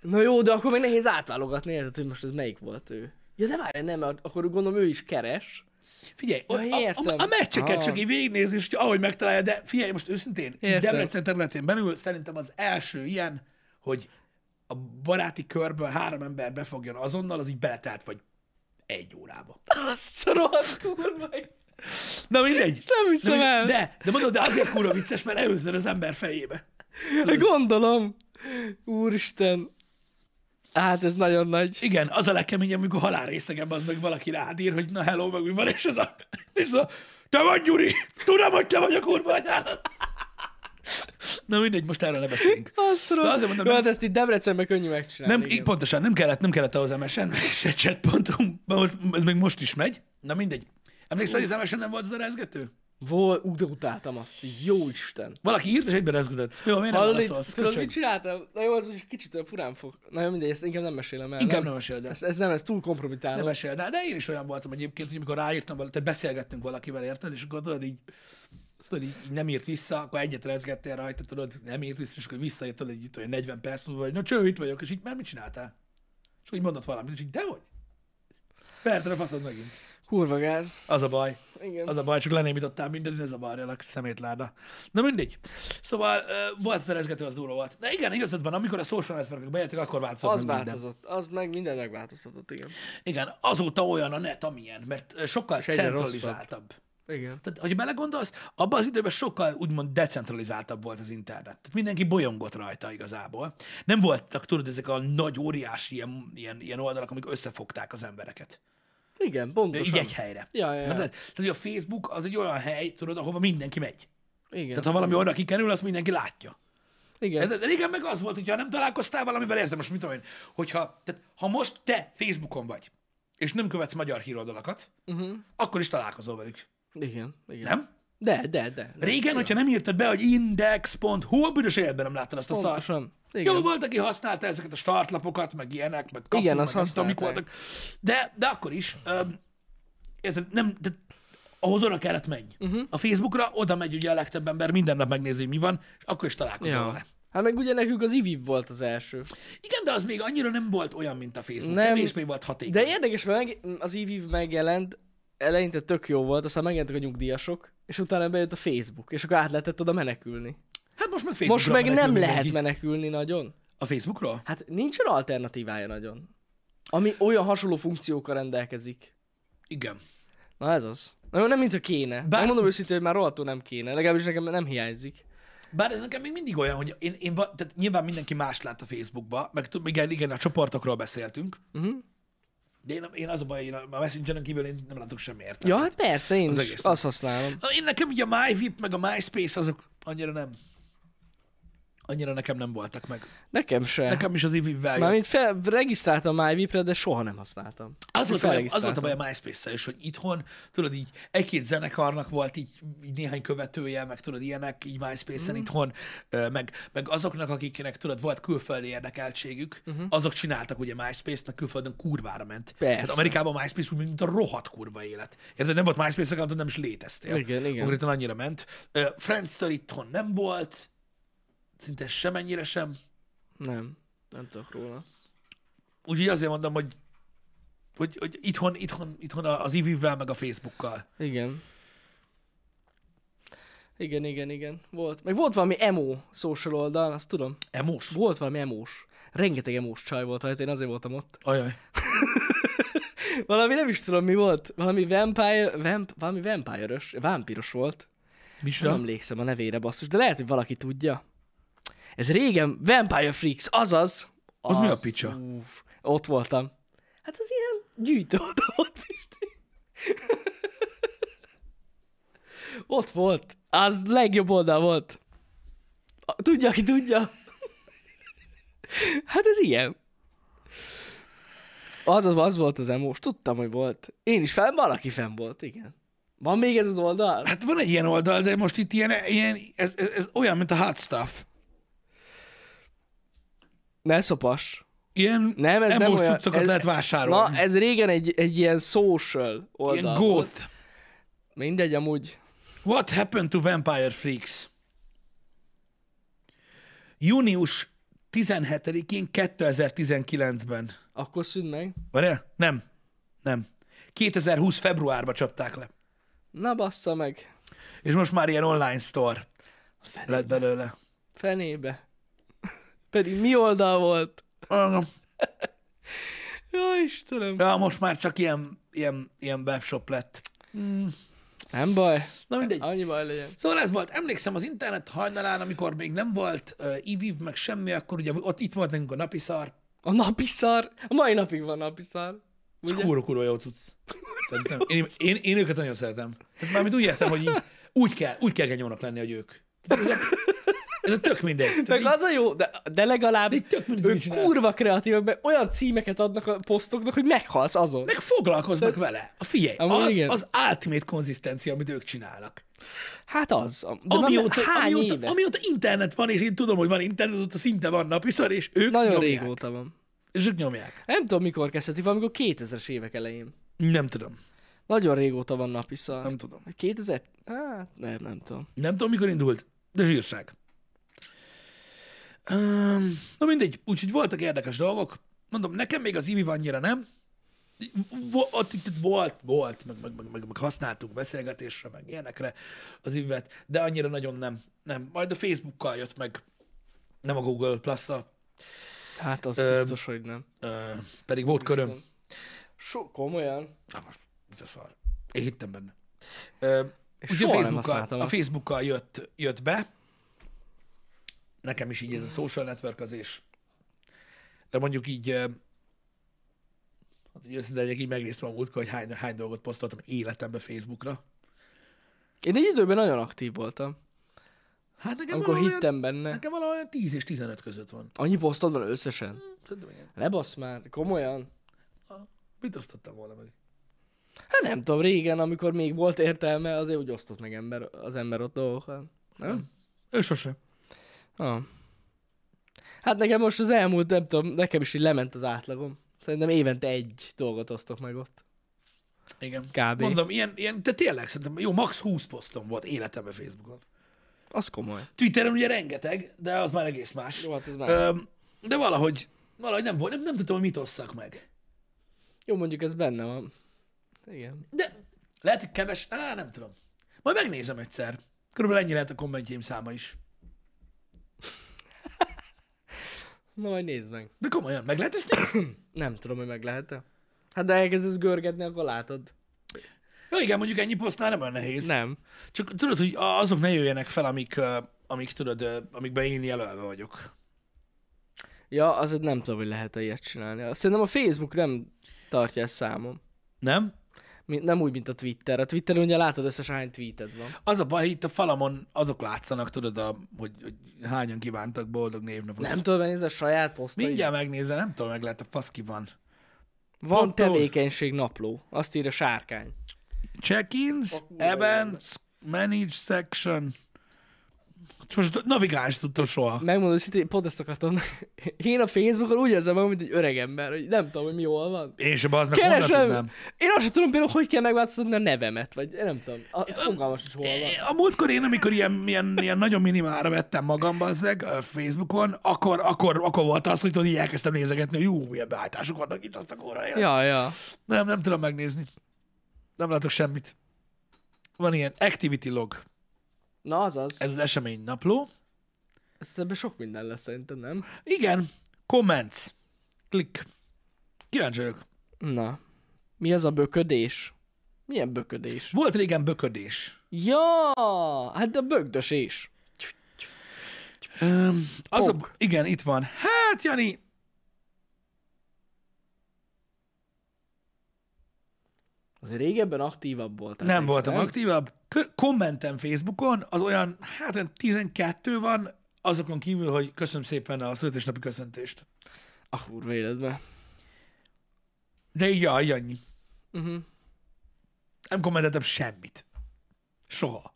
Speaker 2: Na jó, de akkor még nehéz átválogatni, érted, hogy most ez melyik volt ő. Ja, de várj, nem, mert akkor gondolom ő is keres.
Speaker 1: Figyelj, ott
Speaker 2: Ja,
Speaker 1: a,
Speaker 2: értem.
Speaker 1: a, a meccseket
Speaker 2: Ah.
Speaker 1: csak így végignézni, és ahogy megtalálja, de figyelj, most őszintén,
Speaker 2: Értem.
Speaker 1: értem. Debrecen területén belül szerintem az első ilyen, hogy a baráti körből három ember befogjon azonnal, az így beletelt vagy egy órába.
Speaker 2: Azt a rohadt kurva. Ezt
Speaker 1: Na mindegy.
Speaker 2: nem hiszem
Speaker 1: de,
Speaker 2: el.
Speaker 1: mindegy. de, de mondod, de azért kurva vicces, mert elütöd az ember fejébe.
Speaker 2: Hát Gondolom. Úristen. Hát ez nagyon nagy.
Speaker 1: Igen, az a legkeményebb, amikor halálrészegebb az, meg valaki rád ír, hogy na hello, meg mi van, és ez a, és ez a te vagy Gyuri, tudom, hogy te vagy a kurva anyád. Na mindegy, most erről ne beszélünk.
Speaker 2: Azt a
Speaker 1: Szóval azért
Speaker 2: rohadt.
Speaker 1: mondom,
Speaker 2: Jó,
Speaker 1: nem-
Speaker 2: hát ezt itt Debrecenben könnyű megcsinálni.
Speaker 1: Nem,
Speaker 2: igen.
Speaker 1: így pontosan, nem kellett, nem kellett ahhoz MSN, meg se chat.hu, mert most, ez még most is megy. Na mindegy. Emlékszel, hogy az MSN nem volt az a rezgető?
Speaker 2: Volt, úgy de utáltam azt, jó Isten.
Speaker 1: Valaki írt, és egyben rezgetett. Jó, miért nem
Speaker 2: Hallod,
Speaker 1: válaszolsz?
Speaker 2: itt- tudod,
Speaker 1: Köcsög.
Speaker 2: mit csináltam? Na jó, ez most kicsit olyan furán fog. Na jó, mindegy, ezt inkább nem mesélem el.
Speaker 1: Inkább nem meséld el.
Speaker 2: Ez, ez nem, ez túl
Speaker 1: Ne
Speaker 2: kompromitáló.
Speaker 1: meséld el. De én is olyan voltam egyébként, hogy amikor ráírtam valamit, tehát beszélgettünk valakivel, érted? És akkor tudod, így, tudod, így, így nem írt vissza, akkor egyet rezgettél rajta, tudod, nem írt vissza, és akkor visszajött, tudod, így, tudod, 40 perc múlva, hogy na cső, itt vagyok, és így, mert mit csináltál? És akkor így mondott valamit, és így, dehogy? Pertre faszod megint.
Speaker 2: Kurva gáz.
Speaker 1: Az a baj.
Speaker 2: Igen.
Speaker 1: Az a baj, csak lenémítottál mindent, ez a baj, a szemétláda. Na mindegy. Szóval uh, volt felezgető, az durva volt. Na igen, igazad van, amikor a social networkök bejöttek, akkor változott
Speaker 2: Az
Speaker 1: meg minden.
Speaker 2: változott, az meg minden megváltoztatott, igen.
Speaker 1: Igen, azóta olyan a net, amilyen, mert ö, sokkal
Speaker 2: egyre
Speaker 1: centralizáltabb.
Speaker 2: Igen.
Speaker 1: Tehát, hogy belegondolsz, abban az időben sokkal úgymond decentralizáltabb volt az internet. Tehát mindenki bolyongott rajta igazából. Nem voltak, tudod, ezek a nagy, óriási ilyen, ilyen, ilyen oldalak, amik összefogták az embereket.
Speaker 2: Igen,
Speaker 1: Pontosan.
Speaker 2: pontosan.
Speaker 1: Így egy helyre.
Speaker 2: Ja, ja, ja.
Speaker 1: Mert, tehát, hogy a Facebook az egy olyan hely, tudod, ahova mindenki megy.
Speaker 2: Igen.
Speaker 1: Tehát ha valami oda kikerül, azt mindenki látja.
Speaker 2: igen.
Speaker 1: De, de régen meg az volt, hogyha nem találkoztál valamivel, értem, most mit tudom én, hogyha, tehát, ha most te Facebookon vagy, és nem követsz magyar híroldalakat,
Speaker 2: Uh-huh.
Speaker 1: akkor is találkozol velük,
Speaker 2: Igen, igen.
Speaker 1: nem?
Speaker 2: De, de, de. de.
Speaker 1: Régen, hogyha nem írtad be, hogy index.hu, a büdös életben nem láttad azt a szart.
Speaker 2: Pontosan. Igen.
Speaker 1: Jó, volt, aki használta ezeket a startlapokat, meg ilyenek, meg kapu,
Speaker 2: Igen,
Speaker 1: meg
Speaker 2: azt
Speaker 1: nem tudom, mik
Speaker 2: használták.
Speaker 1: voltak. De, de akkor is, öm, érted, nem, de ahhoz oda kellett menj.
Speaker 2: Mhm.
Speaker 1: Uh-huh. A Facebookra oda megy ugye a legtöbb ember, minden nap megnézi, hogy mi van, és akkor is találkozol ja. vele.
Speaker 2: Ja. Hát meg ugye nekünk az IVIV volt az első.
Speaker 1: Igen, de az még annyira nem volt olyan, mint a Facebook.
Speaker 2: Nem.
Speaker 1: Nem. Kevésbé volt hatékony.
Speaker 2: De érdekes, mert meg, az IVIV megjelent, eleinte tök jó volt, aztán megjelentek a nyugdíjasok, és utána bejött a Facebook, és akkor át lehetett oda menekülni.
Speaker 1: Hát most meg Facebookra
Speaker 2: Most meg
Speaker 1: menekül
Speaker 2: nem
Speaker 1: mindenki.
Speaker 2: lehet menekülni nagyon.
Speaker 1: A Facebookról?
Speaker 2: Hát nincsen alternatívája nagyon. Ami olyan hasonló funkciókkal rendelkezik.
Speaker 1: Igen.
Speaker 2: Na ez az. Na jó, nem mintha kéne. Bár...
Speaker 1: Bár-
Speaker 2: Megmondom őszintén, hogy már rohadtul nem kéne. Legalábbis nekem nem hiányzik.
Speaker 1: Bár ez nekem még mindig olyan, hogy én, én va- tehát nyilván mindenki más lát a Facebookba, meg tud- igen, igen, a csoportokról beszéltünk,
Speaker 2: Uh-huh.
Speaker 1: de én, én az a baj, én a a Messengeren kívül én nem látok semmi értelmet.
Speaker 2: Ja, hát persze, én
Speaker 1: Az
Speaker 2: is
Speaker 1: egész
Speaker 2: azt használom.
Speaker 1: Én nekem ugye a MyVip meg a MySpace azok annyira nem. annyira nekem nem voltak meg.
Speaker 2: Nekem se. Nekem
Speaker 1: Nekem is az ivivel jött.
Speaker 2: Mármint fel, regisztráltam MyVip-re, de soha nem használtam.
Speaker 1: Az volt, a baj, az volt a
Speaker 2: Felregisztráltam.
Speaker 1: baj a MySpace-szel is, hogy itthon, tudod, így egy-két zenekarnak volt így, így néhány követője, meg tudod, ilyenek így
Speaker 2: Mhm.
Speaker 1: MySpace-en itthon, ö, meg, meg azoknak, akiknek tudod, volt külföldi érdekeltségük, azok csináltak ugye MySpace-t, meg külföldön kurvára ment.
Speaker 2: Mhm. Persze.
Speaker 1: Hát Amerikában a MySpace úgy, mint a rohadt kurva élet. Érted, nem volt MySpace, akkor nem is léteztél.
Speaker 2: Igen, igen.
Speaker 1: Konkrétan annyira ment. Ö, Friendster itthon nem volt, szinte semennyire sem.
Speaker 2: Nem, nem tudok róla.
Speaker 1: Úgyhogy azért mondom, hogy hogy, hogy itthon, itthon, itthon az ivivel, meg a Facebookkal.
Speaker 2: Igen. Igen, igen, igen. Volt. Meg volt valami emo social oldal, azt tudom.
Speaker 1: Emos?
Speaker 2: Volt valami emós. Rengeteg emós csaj volt rajta, én azért voltam ott.
Speaker 1: Ajaj.
Speaker 2: Valami nem is tudom mi volt. Valami vampire, vamp, valami vampire-ös, vámpíros volt. Nem
Speaker 1: Micsoda?
Speaker 2: emlékszem a nevére basszus, de lehet, hogy valaki tudja. Ez régen Vampire Freaks, azaz.
Speaker 1: Az mi a picsa?
Speaker 2: Uff, ott voltam. Hát az ilyen gyűjtő oda volt, Pisti. (laughs) ott volt. Az legjobb oldal volt. A- Tudja, aki tudja. (laughs) hát ez ilyen. Az, az, az volt az emós, tudtam, hogy volt. Én is fenn, valaki fenn volt, igen. Van még ez az oldal?
Speaker 1: Hát van egy ilyen oldal, de most itt ilyen, ilyen ez, ez, ez olyan, mint a hot stuff.
Speaker 2: Ne szopas.
Speaker 1: Ilyen
Speaker 2: Nem, ez nem
Speaker 1: emos
Speaker 2: olyan.
Speaker 1: cuccokat
Speaker 2: ez,
Speaker 1: lehet
Speaker 2: Na,
Speaker 1: vásárolni.
Speaker 2: ez régen egy, egy ilyen social oldal
Speaker 1: ilyen
Speaker 2: volt.
Speaker 1: goth.
Speaker 2: Mindegy, amúgy.
Speaker 1: What happened to vampire freaks? Június 17-én 2019-ben.
Speaker 2: Akkor szűn meg.
Speaker 1: Várjál? Nem. Nem. 2020 februárba csapták le.
Speaker 2: Na bassza meg.
Speaker 1: És most már ilyen online store
Speaker 2: Fenébe.
Speaker 1: lett belőle.
Speaker 2: Fenébe. (laughs) Pedig mi oldal volt?
Speaker 1: Ah,
Speaker 2: Ja, Istenem.
Speaker 1: Ja, most már csak ilyen, ilyen, ilyen webshop lett.
Speaker 2: Nem baj.
Speaker 1: Na mindegy.
Speaker 2: Annyi baj legyen.
Speaker 1: Szóval ez volt. Emlékszem az internet hajnalán, amikor még nem volt uh, IVIV, meg semmi, akkor ugye ott itt volt nekünk a napi szar.
Speaker 2: A napi szar. A mai napig van napi szar.
Speaker 1: Ez
Speaker 2: Ugye?
Speaker 1: kurva, kurva jó cucc. Szerintem. Én, én, én, őket nagyon szeretem. Tehát mármint úgy értem, hogy így, úgy kell, úgy kell genyónak lenni, hogy ők. Tehát Ezek, ez a tök mindegy. Tehát
Speaker 2: Meg az a jó, de, de legalább
Speaker 1: így, tök mindegy,
Speaker 2: ők
Speaker 1: mit csinálsz.
Speaker 2: kurva kreatívak, mert olyan címeket adnak a posztoknak, hogy meghalsz azon.
Speaker 1: Meg foglalkoznak vele. Figyelj,
Speaker 2: Amúgy
Speaker 1: az,
Speaker 2: igen.
Speaker 1: az ultimate konzisztencia, amit ők csinálnak.
Speaker 2: Hát az. De
Speaker 1: Amióta,
Speaker 2: nem, hány
Speaker 1: amióta,
Speaker 2: éve?
Speaker 1: amióta internet van, és én tudom, hogy van internet, ott szinte van napiszar, és ők
Speaker 2: Nagyon
Speaker 1: nyomják.
Speaker 2: régóta van.
Speaker 1: És ők nyomják.
Speaker 2: Nem tudom, mikor kezdheti, valamikor 2000-es évek elején.
Speaker 1: Nem tudom.
Speaker 2: Nagyon régóta van napi szar.
Speaker 1: Nem tudom.
Speaker 2: 2000? Hát, nem, nem tudom.
Speaker 1: Nem tudom, mikor indult, de zsírság. Um, na mindegy, úgyhogy voltak érdekes dolgok. Mondom, nekem még az IVI annyira nem. Vo- Ott itt, itt volt, volt, meg, meg, meg, meg, meg használtuk beszélgetésre, meg ilyenekre az ivet, de annyira nagyon nem. nem. Majd a Facebookkal jött meg, nem a Google plus
Speaker 2: Hát az
Speaker 1: Öm,
Speaker 2: biztos, hogy nem.
Speaker 1: uh, pedig volt köröm.
Speaker 2: So, komolyan.
Speaker 1: Na most, mit a szar. Én hittem benne. Ö, ugye a
Speaker 2: soha nem
Speaker 1: Facebookkal,
Speaker 2: használtam
Speaker 1: a
Speaker 2: azt.
Speaker 1: Facebookkal jött, jött be. Nekem is így ez a social networközés. De mondjuk így, ö, hát így őszinte legyek, így megnéztem a múltkor, hogy hány, hány dolgot posztoltam életembe Facebookra.
Speaker 2: Én egy időben nagyon aktív voltam,
Speaker 1: Hát nekem
Speaker 2: amikor
Speaker 1: valahol olyan,
Speaker 2: hittem benne.
Speaker 1: nekem valahol olyan 10 és 15 között van.
Speaker 2: Annyi posztod van összesen?
Speaker 1: Szerintem igen.
Speaker 2: Ne basz már, komolyan.
Speaker 1: Mit osztottam volna meg?
Speaker 2: Hát nem tudom, régen, amikor még volt értelme, azért úgy osztott meg ember, az ember ott dolgokat. Nem?
Speaker 1: Ő sose.
Speaker 2: Ah. Hát nekem most az elmúlt, nem tudom, nekem is így lement az átlagom. Szerintem évente egy dolgot osztok meg ott.
Speaker 1: Igen.
Speaker 2: Kb.
Speaker 1: Mondom, ilyen, ilyen, de tényleg szerintem, jó, max 20 posztom volt életemben Facebookon.
Speaker 2: Az komoly.
Speaker 1: Twitteren ugye rengeteg, de az már egész más.
Speaker 2: Jó, hát ez már.
Speaker 1: Öm, de valahogy, valahogy nem volt, nem, nem tudtam, hogy mit osszak meg.
Speaker 2: Jó, mondjuk ez benne van. Igen.
Speaker 1: De lehet, hogy keves, á, nem tudom. Majd megnézem egyszer. Körülbelül ennyi lehet a kommentjeim száma is.
Speaker 2: Na majd nézd meg.
Speaker 1: De komolyan, meg lehet ezt nézni?
Speaker 2: Nem tudom, hogy meg lehet-e. Hát de elkezdesz görgetni, akkor látod.
Speaker 1: Jó, igen, mondjuk ennyi posztnál nem olyan nehéz.
Speaker 2: Nem.
Speaker 1: Csak tudod, hogy a- azok ne jöjjenek fel, amik, ö, amik tudod, ö, amikben én jelölve vagyok.
Speaker 2: Ja, azért nem tudom, hogy lehet-e ilyet csinálni. Szerintem a Facebook nem tartja ezt számom.
Speaker 1: Nem?
Speaker 2: Mint- Nem úgy, mint a Twitter. A Twitteren ugye látod összesen hány tweeted van.
Speaker 1: Az a baj, itt a falamon azok látszanak, tudod, a, hogy, hogy hányan kívántak boldog névnapot.
Speaker 2: Nem tudod megnézni a saját posztait?
Speaker 1: Mindjárt megnézem, nem tudom, meg lehet, a fasz ki van.
Speaker 2: Van
Speaker 1: Pottol.
Speaker 2: tevékenység napló. Azt írja sárkány.
Speaker 1: Check-ins, events, manage section. Sose navigálni sem tudtam soha.
Speaker 2: Megmondom, hogy pont ezt akartam. (laughs) Én a Facebookon úgy érzem magam, mint egy öreg ember, hogy nem tudom, hogy mi jól van.
Speaker 1: Én sem az, meg honnan
Speaker 2: Keresem.
Speaker 1: tudnám.
Speaker 2: Én azt sem tudom például, hogy kell megváltoztatni a nevemet, vagy nem tudom. A, fogalmas is hol van.
Speaker 1: A múltkor én, amikor ilyen, ilyen, ilyen nagyon minimára vettem magam, bazzeg, a Facebookon, akkor, akkor, akkor volt az, hogy tudod, így elkezdtem nézegetni, hogy jó, milyen beállítások vannak itt, azt a korra. Ja.
Speaker 2: Ja, ja.
Speaker 1: Nem, nem tudom megnézni. Nem látok semmit. Van ilyen activity log.
Speaker 2: Na azaz. Ez...
Speaker 1: Ez az esemény napló.
Speaker 2: Ez ebben sok minden lesz szerintem, nem?
Speaker 1: Igen, comments. Klik. Kíváncsi vagyok.
Speaker 2: Na. Mi az a böködés? Milyen böködés?
Speaker 1: Volt régen böködés.
Speaker 2: Ja, hát a bögdösés.
Speaker 1: Öm, az a,
Speaker 2: Pog.
Speaker 1: igen, itt van. Hát, Jani,
Speaker 2: Azért régebben aktívabb voltál.
Speaker 1: nem
Speaker 2: te,
Speaker 1: voltam aktívabb. K- kommentem Facebookon, az olyan, hát olyan 12 van, azokon kívül, hogy köszönöm szépen a születésnapi köszöntést.
Speaker 2: A kurva életben.
Speaker 1: De így, jaj, annyi.
Speaker 2: Uh-huh.
Speaker 1: Nem kommenteltem semmit. Soha.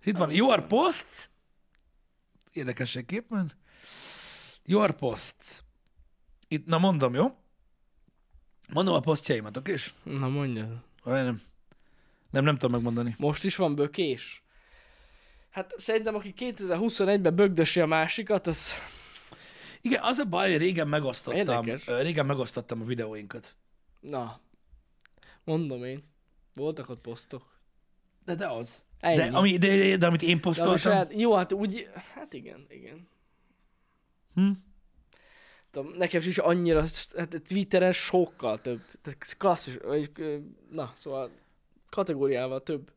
Speaker 1: És itt van, your posts. Érdekességképpen. Your posts. Itt, na mondom, jó? Mondom a posztjaimat, oké? is?
Speaker 2: Na mondjad.
Speaker 1: Vagy nem? Nem, nem tudom megmondani.
Speaker 2: Most is van bökés? Hát szerintem, aki 2021-ben bögdösi a másikat, az...
Speaker 1: Igen, az a baj, hogy régen megosztottam,
Speaker 2: Érdekes.
Speaker 1: ö, régen megosztottam a videóinkat.
Speaker 2: Na. Mondom én. Voltak ott posztok.
Speaker 1: De, de az.
Speaker 2: Ennyi.
Speaker 1: De, ami, de, de, de, amit én
Speaker 2: De ami
Speaker 1: posztoltam,
Speaker 2: saját... Jó, hát úgy... Hát igen, igen.
Speaker 1: Hm?
Speaker 2: Tudom, nekem is annyira... Hát Twitteren sokkal több. Tehát klasszis... Vagy, ö, na, szóval kategóriával több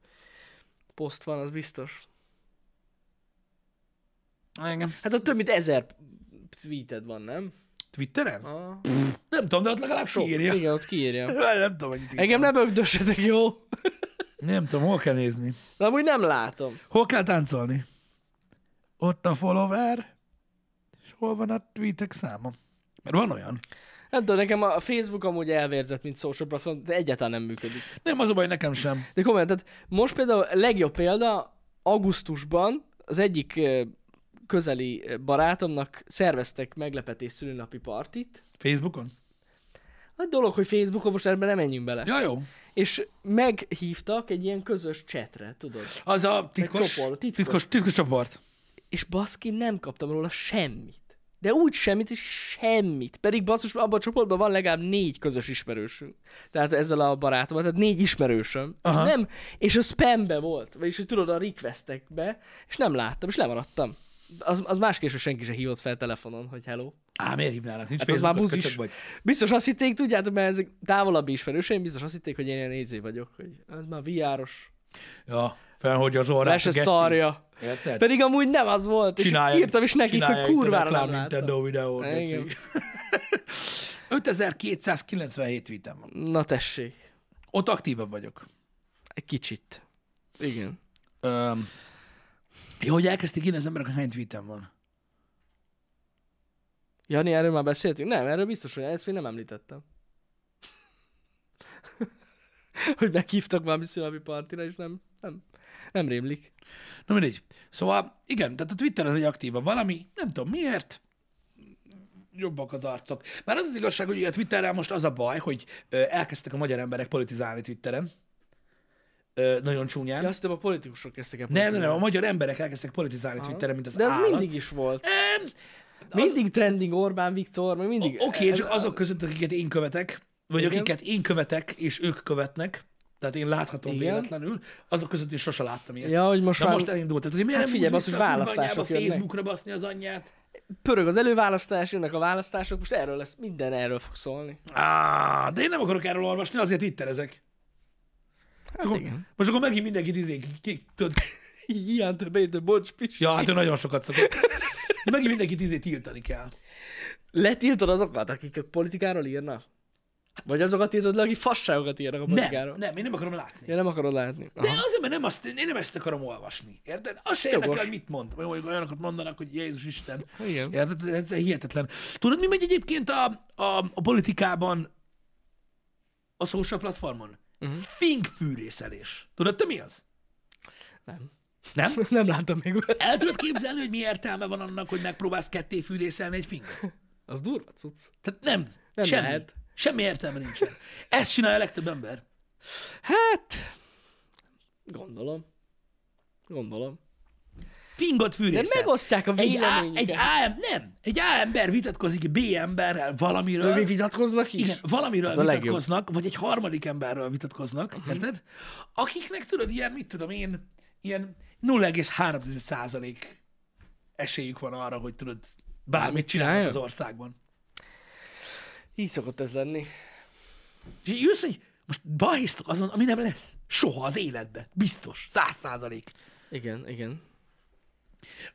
Speaker 2: poszt van, az biztos.
Speaker 1: engem
Speaker 2: Hát ott több mint ezer tweeted van, nem?
Speaker 1: Twitteren?
Speaker 2: Ah,
Speaker 1: Nem tudom, de ott legalább Sok. kiírja.
Speaker 2: igen, ott kiírja.
Speaker 1: (laughs) Nem tudom, hogy
Speaker 2: Engem ne bögdössetek, jó?
Speaker 1: nem tudom, hol kell nézni.
Speaker 2: De amúgy nem látom.
Speaker 1: Hol kell táncolni? Ott a follower, és hol van a tweetek száma? Mert van olyan.
Speaker 2: Nem tudom, nekem a Facebook amúgy elvérzett, mint social platform, de egyáltalán nem működik.
Speaker 1: Nem, az a baj, nekem sem.
Speaker 2: De komolyan, tehát most például a legjobb példa, augusztusban az egyik ö, közeli ö, barátomnak szerveztek meglepetés szülőnapi partit.
Speaker 1: Facebookon?
Speaker 2: A dolog, hogy Facebookon most ebben nem menjünk bele. Ja.
Speaker 1: Ja, jó.
Speaker 2: És meghívtak egy ilyen közös chatre, tudod.
Speaker 1: Az a titkos,
Speaker 2: csoport, titkos.
Speaker 1: titkos, titkos csoport.
Speaker 2: És baszki, nem kaptam róla semmit. De úgy semmit, hogy semmit. Pedig basszus, abban a csoportban van legalább négy közös ismerősünk. Tehát ezzel a barátommal, tehát négy ismerősöm. És
Speaker 1: Aha.
Speaker 2: nem, és a spambe volt, vagyis hogy tudod, a requestekbe, és nem láttam, és lemaradtam. Az, az másképp, hogy senki se hívott fel telefonon, hogy hello.
Speaker 1: Á, miért hívnának? Nincs
Speaker 2: Hát az már
Speaker 1: Facebookod,
Speaker 2: buzis.
Speaker 1: köcsög vagy.
Speaker 2: Biztos azt hitték, tudjátok, mert ezek távolabbi ismerőseim, biztos azt hitték, hogy én ilyen néző vagyok, hogy ez már viáros.
Speaker 1: Ja, felhordja az orrát.
Speaker 2: Le se
Speaker 1: a geci.
Speaker 2: szarja.
Speaker 1: Érted?
Speaker 2: Pedig amúgy nem az volt, és
Speaker 1: Csinálják-
Speaker 2: írtam is nekik, hogy
Speaker 1: csinálják
Speaker 2: kurvára
Speaker 1: itt a
Speaker 2: nem
Speaker 1: reklám
Speaker 2: láttam.
Speaker 1: Nintendo videót.
Speaker 2: Igen.
Speaker 1: geci. (laughs) 5297 tweetem van.
Speaker 2: Na tessék,
Speaker 1: Ott aktívabb vagyok.
Speaker 2: egy kicsit. Igen.
Speaker 1: Öm, jó, hogy elkezdték írni az emberek, hogy hány tweetem van.
Speaker 2: Jani, erről már beszéltünk? Nem, erről biztos, hogy ezt még nem említettem. (laughs) hogy meghívtak valami szülnapi partira, és nem, nem, nem rémlik.
Speaker 1: Na mindegy. Szóval igen, tehát a Twitter az egy aktívabb valami, nem tudom miért, jobbak az arcok. Már az az igazság, hogy ugye a Twitterrel most az a baj, hogy ö, elkezdtek a magyar emberek politizálni Twitteren. Ö, nagyon csúnyán.
Speaker 2: Ja, azt hiszem a politikusok kezdtek el
Speaker 1: nem, nem, nem,
Speaker 2: politizálni.
Speaker 1: a magyar emberek elkezdtek politizálni Twitteren, mint az
Speaker 2: De az
Speaker 1: állat.
Speaker 2: mindig is volt.
Speaker 1: Em,
Speaker 2: Mindig trending Orbán Viktor, meg mindig.
Speaker 1: Oké, okay, csak azok között, akiket én követek, vagy
Speaker 2: Igen.
Speaker 1: Igen. akiket én követek, és ők követnek, tehát én láthatom
Speaker 2: Igen.
Speaker 1: Igen. véletlenül, azok között is sose láttam ilyet.
Speaker 2: Ja, hogy most
Speaker 1: Na
Speaker 2: már
Speaker 1: most elindult. Tehát, hogy miért
Speaker 2: Hát
Speaker 1: nem
Speaker 2: figyelj,
Speaker 1: úgy
Speaker 2: basszus,
Speaker 1: vissza a kurva
Speaker 2: választások
Speaker 1: anyjába
Speaker 2: jönnek.
Speaker 1: Facebookra baszni az anyját?
Speaker 2: pörög az előválasztás, jönnek a választások, most erről lesz, minden erről fog szólni.
Speaker 1: Á, de én nem akarok erről olvasni, azért twitterezek.
Speaker 2: Hát
Speaker 1: Akkor-
Speaker 2: igen.
Speaker 1: Most akkor megint mindenki izé, ki, tudod,
Speaker 2: Ilyen többé, bocs, Pisti.
Speaker 1: ja, hát ő nagyon sokat
Speaker 2: (laughs)
Speaker 1: szokott. Megint mindenkit izé tiltani kell.
Speaker 2: Letiltod azokat, akik a politikáról írnak? Vagy azokat írod le, akik fasságokat írnak a politikáról.
Speaker 1: Nem, nem, én nem akarom látni.
Speaker 2: Ja, nem akarod látni. Ah,
Speaker 1: De
Speaker 2: Aha.
Speaker 1: azért, mert nem azt, én nem ezt akarom olvasni. Érted? Az se
Speaker 2: Jogos.
Speaker 1: érdekel, hogy mit mond. Vagy hogy olyanokat mondanak, hogy Jézus Isten.
Speaker 2: Igen.
Speaker 1: Érted? Ez hihetetlen. Tudod, mi megy egyébként a, a, a politikában, a social platformon?
Speaker 2: Mhm.
Speaker 1: Uh-huh. Finkfűrészelés. Tudod, te mi az?
Speaker 2: Nem.
Speaker 1: Nem?
Speaker 2: (laughs) Nem láttam még olyat.
Speaker 1: El tudod képzelni, hogy mi értelme van annak, hogy megpróbálsz ketté fűrészelni egy finget?
Speaker 2: Az durva cucc.
Speaker 1: Tehát nem.
Speaker 2: Nem
Speaker 1: semmi.
Speaker 2: lehet.
Speaker 1: Semmi értelme nincsen. Ezt csinálja a legtöbb ember.
Speaker 2: Hát, gondolom. Gondolom.
Speaker 1: Fingot
Speaker 2: De
Speaker 1: fűrészel.
Speaker 2: megosztják a
Speaker 1: Egy, A,
Speaker 2: véleményüket.
Speaker 1: egy A, nem. Egy A ember vitatkozik B emberrel
Speaker 2: Ő mi
Speaker 1: valamiről.
Speaker 2: vitatkoznak is?
Speaker 1: Igen, valamiről
Speaker 2: a legjobb. Mhm.
Speaker 1: vitatkoznak, vagy egy harmadik emberről vitatkoznak, uh-huh. érted? Akiknek tudod, ilyen, mit tudom én, ilyen 0,3% százalék esélyük van arra, hogy tudod, bármit csinálnak az
Speaker 2: csináljanak?
Speaker 1: országban.
Speaker 2: Így szokott ez lenni.
Speaker 1: És így jössz, hogy most balhisztok azon, ami nem lesz. Soha az életben. Biztos. Száz százalék.
Speaker 2: Igen, igen.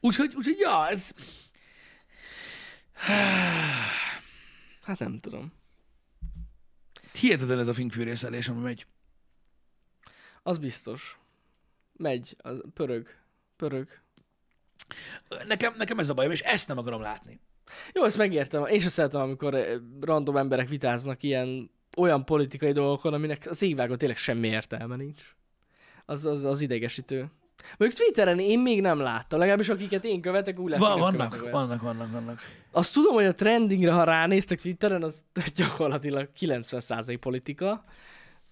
Speaker 1: Úgyhogy, úgyhogy, ja, ez...
Speaker 2: Hát nem tudom.
Speaker 1: Hihetetlen ez a finkfűrészelés, ami megy.
Speaker 2: Az biztos. Megy, az pörög. Pörög.
Speaker 1: Nekem, nekem ez a bajom, és ezt nem akarom látni.
Speaker 2: Jó, ezt megértem. Én sem szeretem, amikor eh, random emberek vitáznak ilyen olyan politikai dolgokon, aminek az égvágon tényleg semmi értelme nincs. Az, az, az idegesítő. Mondjuk Twitteren én még nem láttam, legalábbis akiket én követek, úgy látszik,
Speaker 1: Van,
Speaker 2: nem
Speaker 1: vannak,
Speaker 2: követek olyan.
Speaker 1: vannak, vannak, vannak.
Speaker 2: Azt tudom, hogy a trendingre, ha ránéztek Twitteren, az (laughs) gyakorlatilag 90% politika,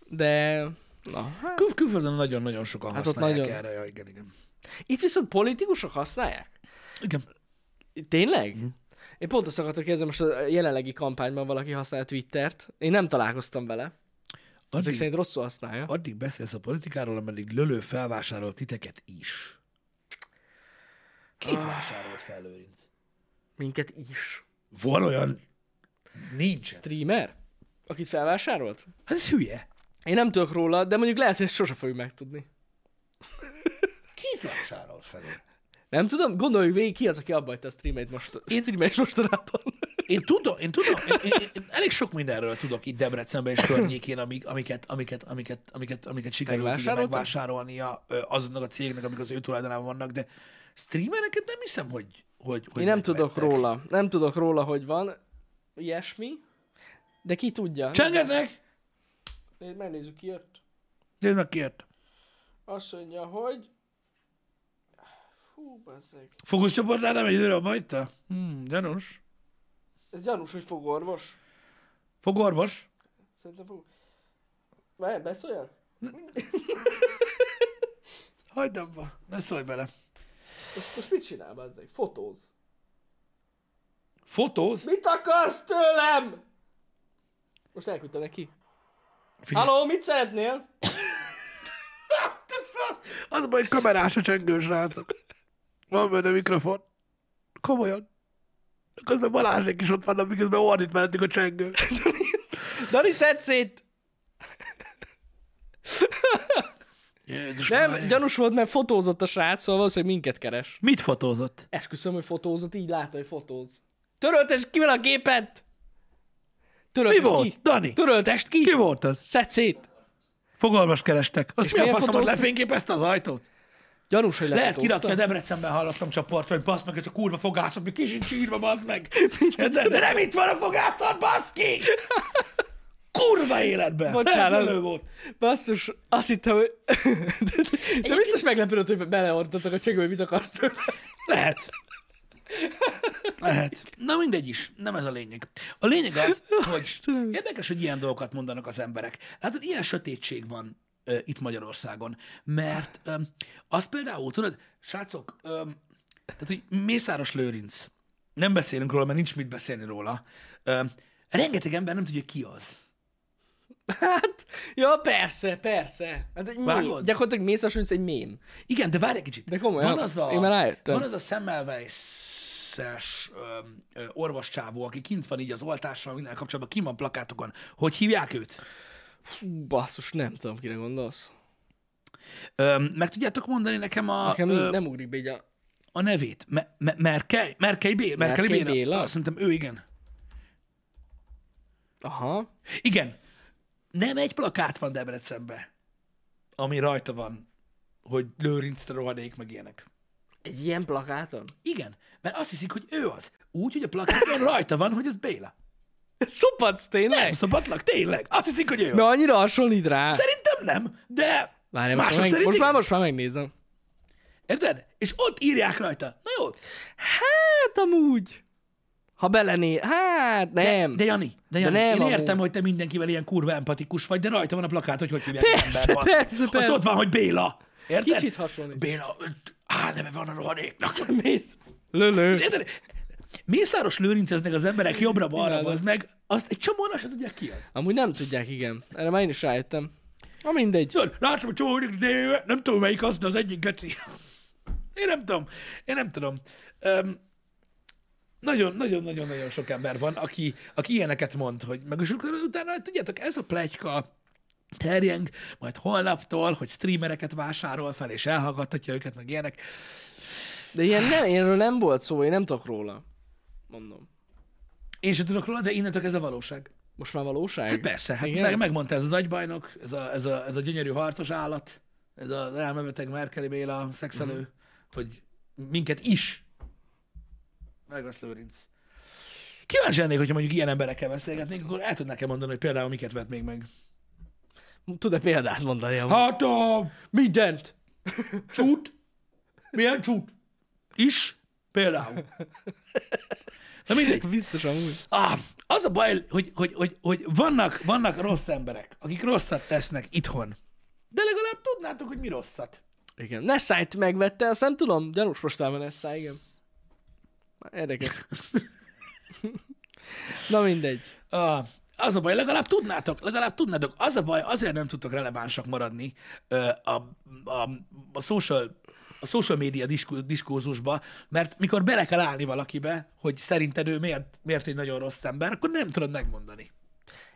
Speaker 2: de na, hát.
Speaker 1: Kül- külföldön nagyon-nagyon sokan
Speaker 2: Hát ott
Speaker 1: használják
Speaker 2: nagyon.
Speaker 1: erre. Ja, igen, igen.
Speaker 2: Itt viszont politikusok használják?
Speaker 1: Igen.
Speaker 2: Tényleg?
Speaker 1: Mhm.
Speaker 2: Én pont azt akartam kérdezni, most a jelenlegi kampányban valaki használja Twittert. Én nem találkoztam vele. Ezek
Speaker 1: Addig,
Speaker 2: szerint rosszul használja.
Speaker 1: addig beszélsz a politikáról, ameddig Lölő felvásárol titeket is. Két vásárolt fel Lőrinc.
Speaker 2: Minket is.
Speaker 1: Van olyan? Nincs.
Speaker 2: Streamer? Akit felvásárolt?
Speaker 1: Hát ez hülye.
Speaker 2: Én nem tudok róla, de mondjuk lehet, hogy ezt sose fogjuk megtudni.
Speaker 1: Két vásárolt fel.
Speaker 2: Nem tudom, gondoljuk végig, ki az, aki abbahagyta a streameit most, Én... streameit mostanában.
Speaker 1: Én tudom, én tudom, én, én, én, én elég sok mindenről tudok itt Debrecenben és környékén, amik, amiket, amiket, amiket, amiket, amiket sikerült ugye
Speaker 2: Megvásároltad?
Speaker 1: megvásárolnia ö, azonnak a cégnek, amik az ő tulajdonában vannak, de streamereket nem hiszem, hogy hogy, hogy
Speaker 2: Én nem
Speaker 1: megvettek.
Speaker 2: tudok róla. Nem tudok róla, hogy van ilyesmi, de ki tudja.
Speaker 1: Csengetnek!
Speaker 2: Én Megnézzük, ki jött.
Speaker 1: Nézd meg kért.
Speaker 2: Azt mondja, hogy... Fú, bazzeg.
Speaker 1: Fókuszcsoportnál nem egy időre abba hagyta? Hmm, gyanús.
Speaker 2: Ez gyanús, hogy fogorvos.
Speaker 1: Fogorvos?
Speaker 2: Szerintem fog... Várj, beszóljak?
Speaker 1: Hagyd abba, ne szólj bele.
Speaker 2: Most, most mit csinál, bazzeg? Fotóz.
Speaker 1: Fotóz?
Speaker 2: Mit akarsz tőlem? Most elküldte neki.
Speaker 1: Figyelj.
Speaker 2: Halló, mit (laughs) szeretnél?
Speaker 1: Az, az a baj, kamerás a csengős rácok. Van benne mikrofon. Komolyan. Közben Balázsék is ott vannak, miközben ordít mellettük a csengő.
Speaker 2: Dani szedszét!
Speaker 1: Jézus
Speaker 2: Nem,
Speaker 1: Mária.
Speaker 2: gyanús volt, mert fotózott a srác, szóval valószínűleg minket keres.
Speaker 1: Mit fotózott?
Speaker 2: Esküszöm, hogy fotózott, így látta, hogy fotóz. Töröltest ki vele a gépet! Töröltest
Speaker 1: Mi volt?
Speaker 2: ki!
Speaker 1: Dani?
Speaker 2: Töröltest ki!
Speaker 1: Ki volt az?
Speaker 2: Szedd szét!
Speaker 1: Fogalmas kerestek. Az
Speaker 2: És
Speaker 1: mi a
Speaker 2: milyen
Speaker 1: faszom, hogy
Speaker 2: fotózta?
Speaker 1: lefényképezte az ajtót?
Speaker 2: Gyanús, hogy
Speaker 1: Lehet
Speaker 2: lefotózta.
Speaker 1: kirakni a Debrecenben hallottam csoportra, hogy basz meg, ez a kurva fogászat, mi kisincs írva, basz meg. De, de nem itt van a fogászat, basz ki! Kurva életben!
Speaker 2: Bocsánat.
Speaker 1: Lehet lelő volt.
Speaker 2: Basszus, azt hittem, hogy... (laughs) De, de biztos meglepődött, hogy beleordottak a csegő, hogy mit akarsz tőle.
Speaker 1: Lehet. Lehet. Na mindegy is, nem ez a lényeg. A lényeg az, hogy érdekes, hogy ilyen dolgokat mondanak az emberek. Látod, ilyen sötétség van ö, itt Magyarországon, mert ö, az például, tudod, srácok, ö, tehát, hogy Mészáros Lőrinc, nem beszélünk róla, mert nincs mit beszélni róla, ö, rengeteg ember nem tudja, ki az.
Speaker 2: Hát, ja, persze, persze. Hát egy mém.
Speaker 1: Vágod?
Speaker 2: Gyakorlatilag Mészás Lőrinc egy mém.
Speaker 1: Igen, de várj egy kicsit.
Speaker 2: De komolyan,
Speaker 1: van az a,
Speaker 2: én már rájöttem.
Speaker 1: Van az a Semmelweis-es öm, ö, orvoscsávó, aki kint van így az oltással, minden kapcsolatban, ki van plakátokon. Hogy hívják őt?
Speaker 2: Fú, basszus, nem tudom, kire gondolsz.
Speaker 1: Öm, meg tudjátok mondani nekem a,
Speaker 2: Nekem
Speaker 1: ö,
Speaker 2: nem ugrik be így a...
Speaker 1: a nevét? Me- me- Merkely? Merkely Béla?
Speaker 2: Merkely
Speaker 1: Merkely Béla?
Speaker 2: Béla?
Speaker 1: Azt Szerintem ő igen.
Speaker 2: Aha.
Speaker 1: Igen. nem egy plakát van Debrecenben, ami rajta van, hogy Lőrinc te rohadék, meg ilyenek.
Speaker 2: Egy ilyen
Speaker 1: (laughs)
Speaker 2: plakáton?
Speaker 1: Igen, mert azt hiszik, hogy ő az. Úgy, hogy a plakáton rajta van, hogy ez Béla.
Speaker 2: Szopadsz
Speaker 1: Nem
Speaker 2: tényleg?
Speaker 1: szabadlak, tényleg. Azt hiszik, hogy ő.
Speaker 2: Na
Speaker 1: az.
Speaker 2: annyira hasonlít rá.
Speaker 1: Szerintem nem, de
Speaker 2: Várj, most,
Speaker 1: mások
Speaker 2: már meg,
Speaker 1: szerint
Speaker 2: most,
Speaker 1: igen.
Speaker 2: már, most már megnézem.
Speaker 1: Érted? És ott írják rajta. Na jó,
Speaker 2: Hát amúgy. Ha belené... Hát nem.
Speaker 1: de Jani, de Jani,
Speaker 2: nem
Speaker 1: én
Speaker 2: amúgy.
Speaker 1: értem, hogy te mindenkivel ilyen kurva empatikus vagy, de rajta van a plakát, hogy hogy hívják az
Speaker 2: Persze,
Speaker 1: ember, basz.
Speaker 2: persze, persze.
Speaker 1: Azt ott van, hogy Béla. Érted?
Speaker 2: Kicsit hasonlít.
Speaker 1: Béla, öt- álneve van a rohadéknak.
Speaker 2: Mész. Lölő.
Speaker 1: Érted? Mészáros lőrinceznek az emberek jobbra-balra,
Speaker 2: Imádom.
Speaker 1: az meg, azt egy csomóan se tudják ki az.
Speaker 2: Amúgy nem tudják, igen. Erre már én is rájöttem. Na mindegy.
Speaker 1: Tudod, látom, hogy csomó nő, nem tudom melyik az, de az egyik geci. Én nem tudom, én nem tudom. Öm, nagyon, nagyon, nagyon, nagyon sok ember van, aki, aki ilyeneket mond, hogy meg és akkor utána, tudjátok, ez a plegyka terjeng, majd holnaptól, hogy streamereket vásárol fel, és elhallgattatja őket, meg ilyenek.
Speaker 2: De ilyen nem, ilyenről nem volt szó, én nem tudok róla. Mondom.
Speaker 1: Én sem tudok róla, de innentől ez a valóság.
Speaker 2: Most már valóság?
Speaker 1: Persze, hát
Speaker 2: Igen?
Speaker 1: meg, megmondta ez az agybajnok, ez a, ez, a, ez a gyönyörű harcos állat, ez az elmebeteg Merkeli Béla szexelő, mm. hogy minket is megrassz Lőrinc. Kíváncsi lennék, hogyha mondjuk ilyen emberekkel beszélgetnénk, akkor el tudnák-e mondani, hogy például miket vett még meg.
Speaker 2: Tud-e példát mondani? Ha...
Speaker 1: Hát a
Speaker 2: Mindent!
Speaker 1: csút, milyen csút? Is? Például. Na mindegy.
Speaker 2: Biztos amúgy.
Speaker 1: Ah, az a baj, hogy, hogy, hogy, hogy vannak, vannak rossz emberek, akik rosszat tesznek itthon. De legalább tudnátok, hogy mi rosszat.
Speaker 2: Igen. Nessájt megvette, azt nem tudom. Gyanús postában Nessá, igen. Már (laughs) Érdekes. Na mindegy.
Speaker 1: Ah, az a baj, legalább tudnátok, legalább tudnátok. Az a baj, azért nem tudtok relevánsak maradni ö, a, a, a social a social media diskó- diskózusba, mert mikor bele kell állni valakibe, hogy szerinted ő miért, miért egy nagyon rossz ember, akkor nem tudod megmondani.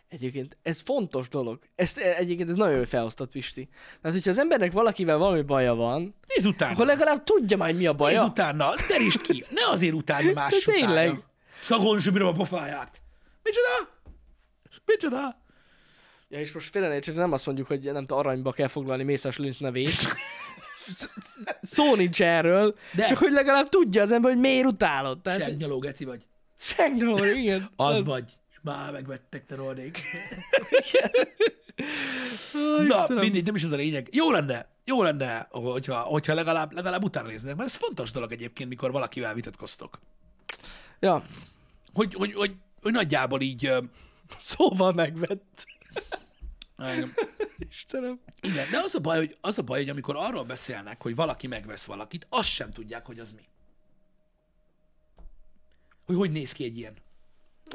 Speaker 2: Egyébként ez fontos dolog. Ezt e- egyébként ez nagyon jól felosztott, Pisti. Tehát, hogyha az embernek valakivel valami baja van,
Speaker 1: Nézd utána.
Speaker 2: akkor legalább tudja már, hogy mi a baja.
Speaker 1: Nézd utána, terítsd ki. Ne azért
Speaker 2: (laughs)
Speaker 1: utáni más
Speaker 2: De tényleg.
Speaker 1: utána. Szagon zsibrom a pofáját. Micsoda? Micsoda?
Speaker 2: Hát- Ja, és most félre ne értsetek, nem azt mondjuk, hogy nem tudom, aranyba kell foglalni Mészás Lőnc nevét.
Speaker 1: (laughs)
Speaker 2: Szó nincs erről,
Speaker 1: De.
Speaker 2: De. csak hogy legalább tudja az ember, hogy miért utálod. Tehát,
Speaker 1: Segnyaló geci vagy.
Speaker 2: Segnor, igen.
Speaker 1: Az vagy. És már megvettek, te rohadék. Na, mindegy, nem is ez a lényeg. Jó lenne, jó lenne, hogyha, hogyha legalább, legalább utána néznek, mert ez fontos dolog egyébként, mikor valakivel vitatkoztok.
Speaker 2: Ja,
Speaker 1: Hogy, hogy, hogy, hogy nagyjából így... ö,
Speaker 2: szóval megvett.
Speaker 1: ö,
Speaker 2: Istenem.
Speaker 1: Igen, de az a, baj, hogy, az a baj, hogy amikor arról beszélnek, hogy valaki megvesz valakit, azt sem tudják, hogy az mi. Hogy hogy néz ki egy ilyen.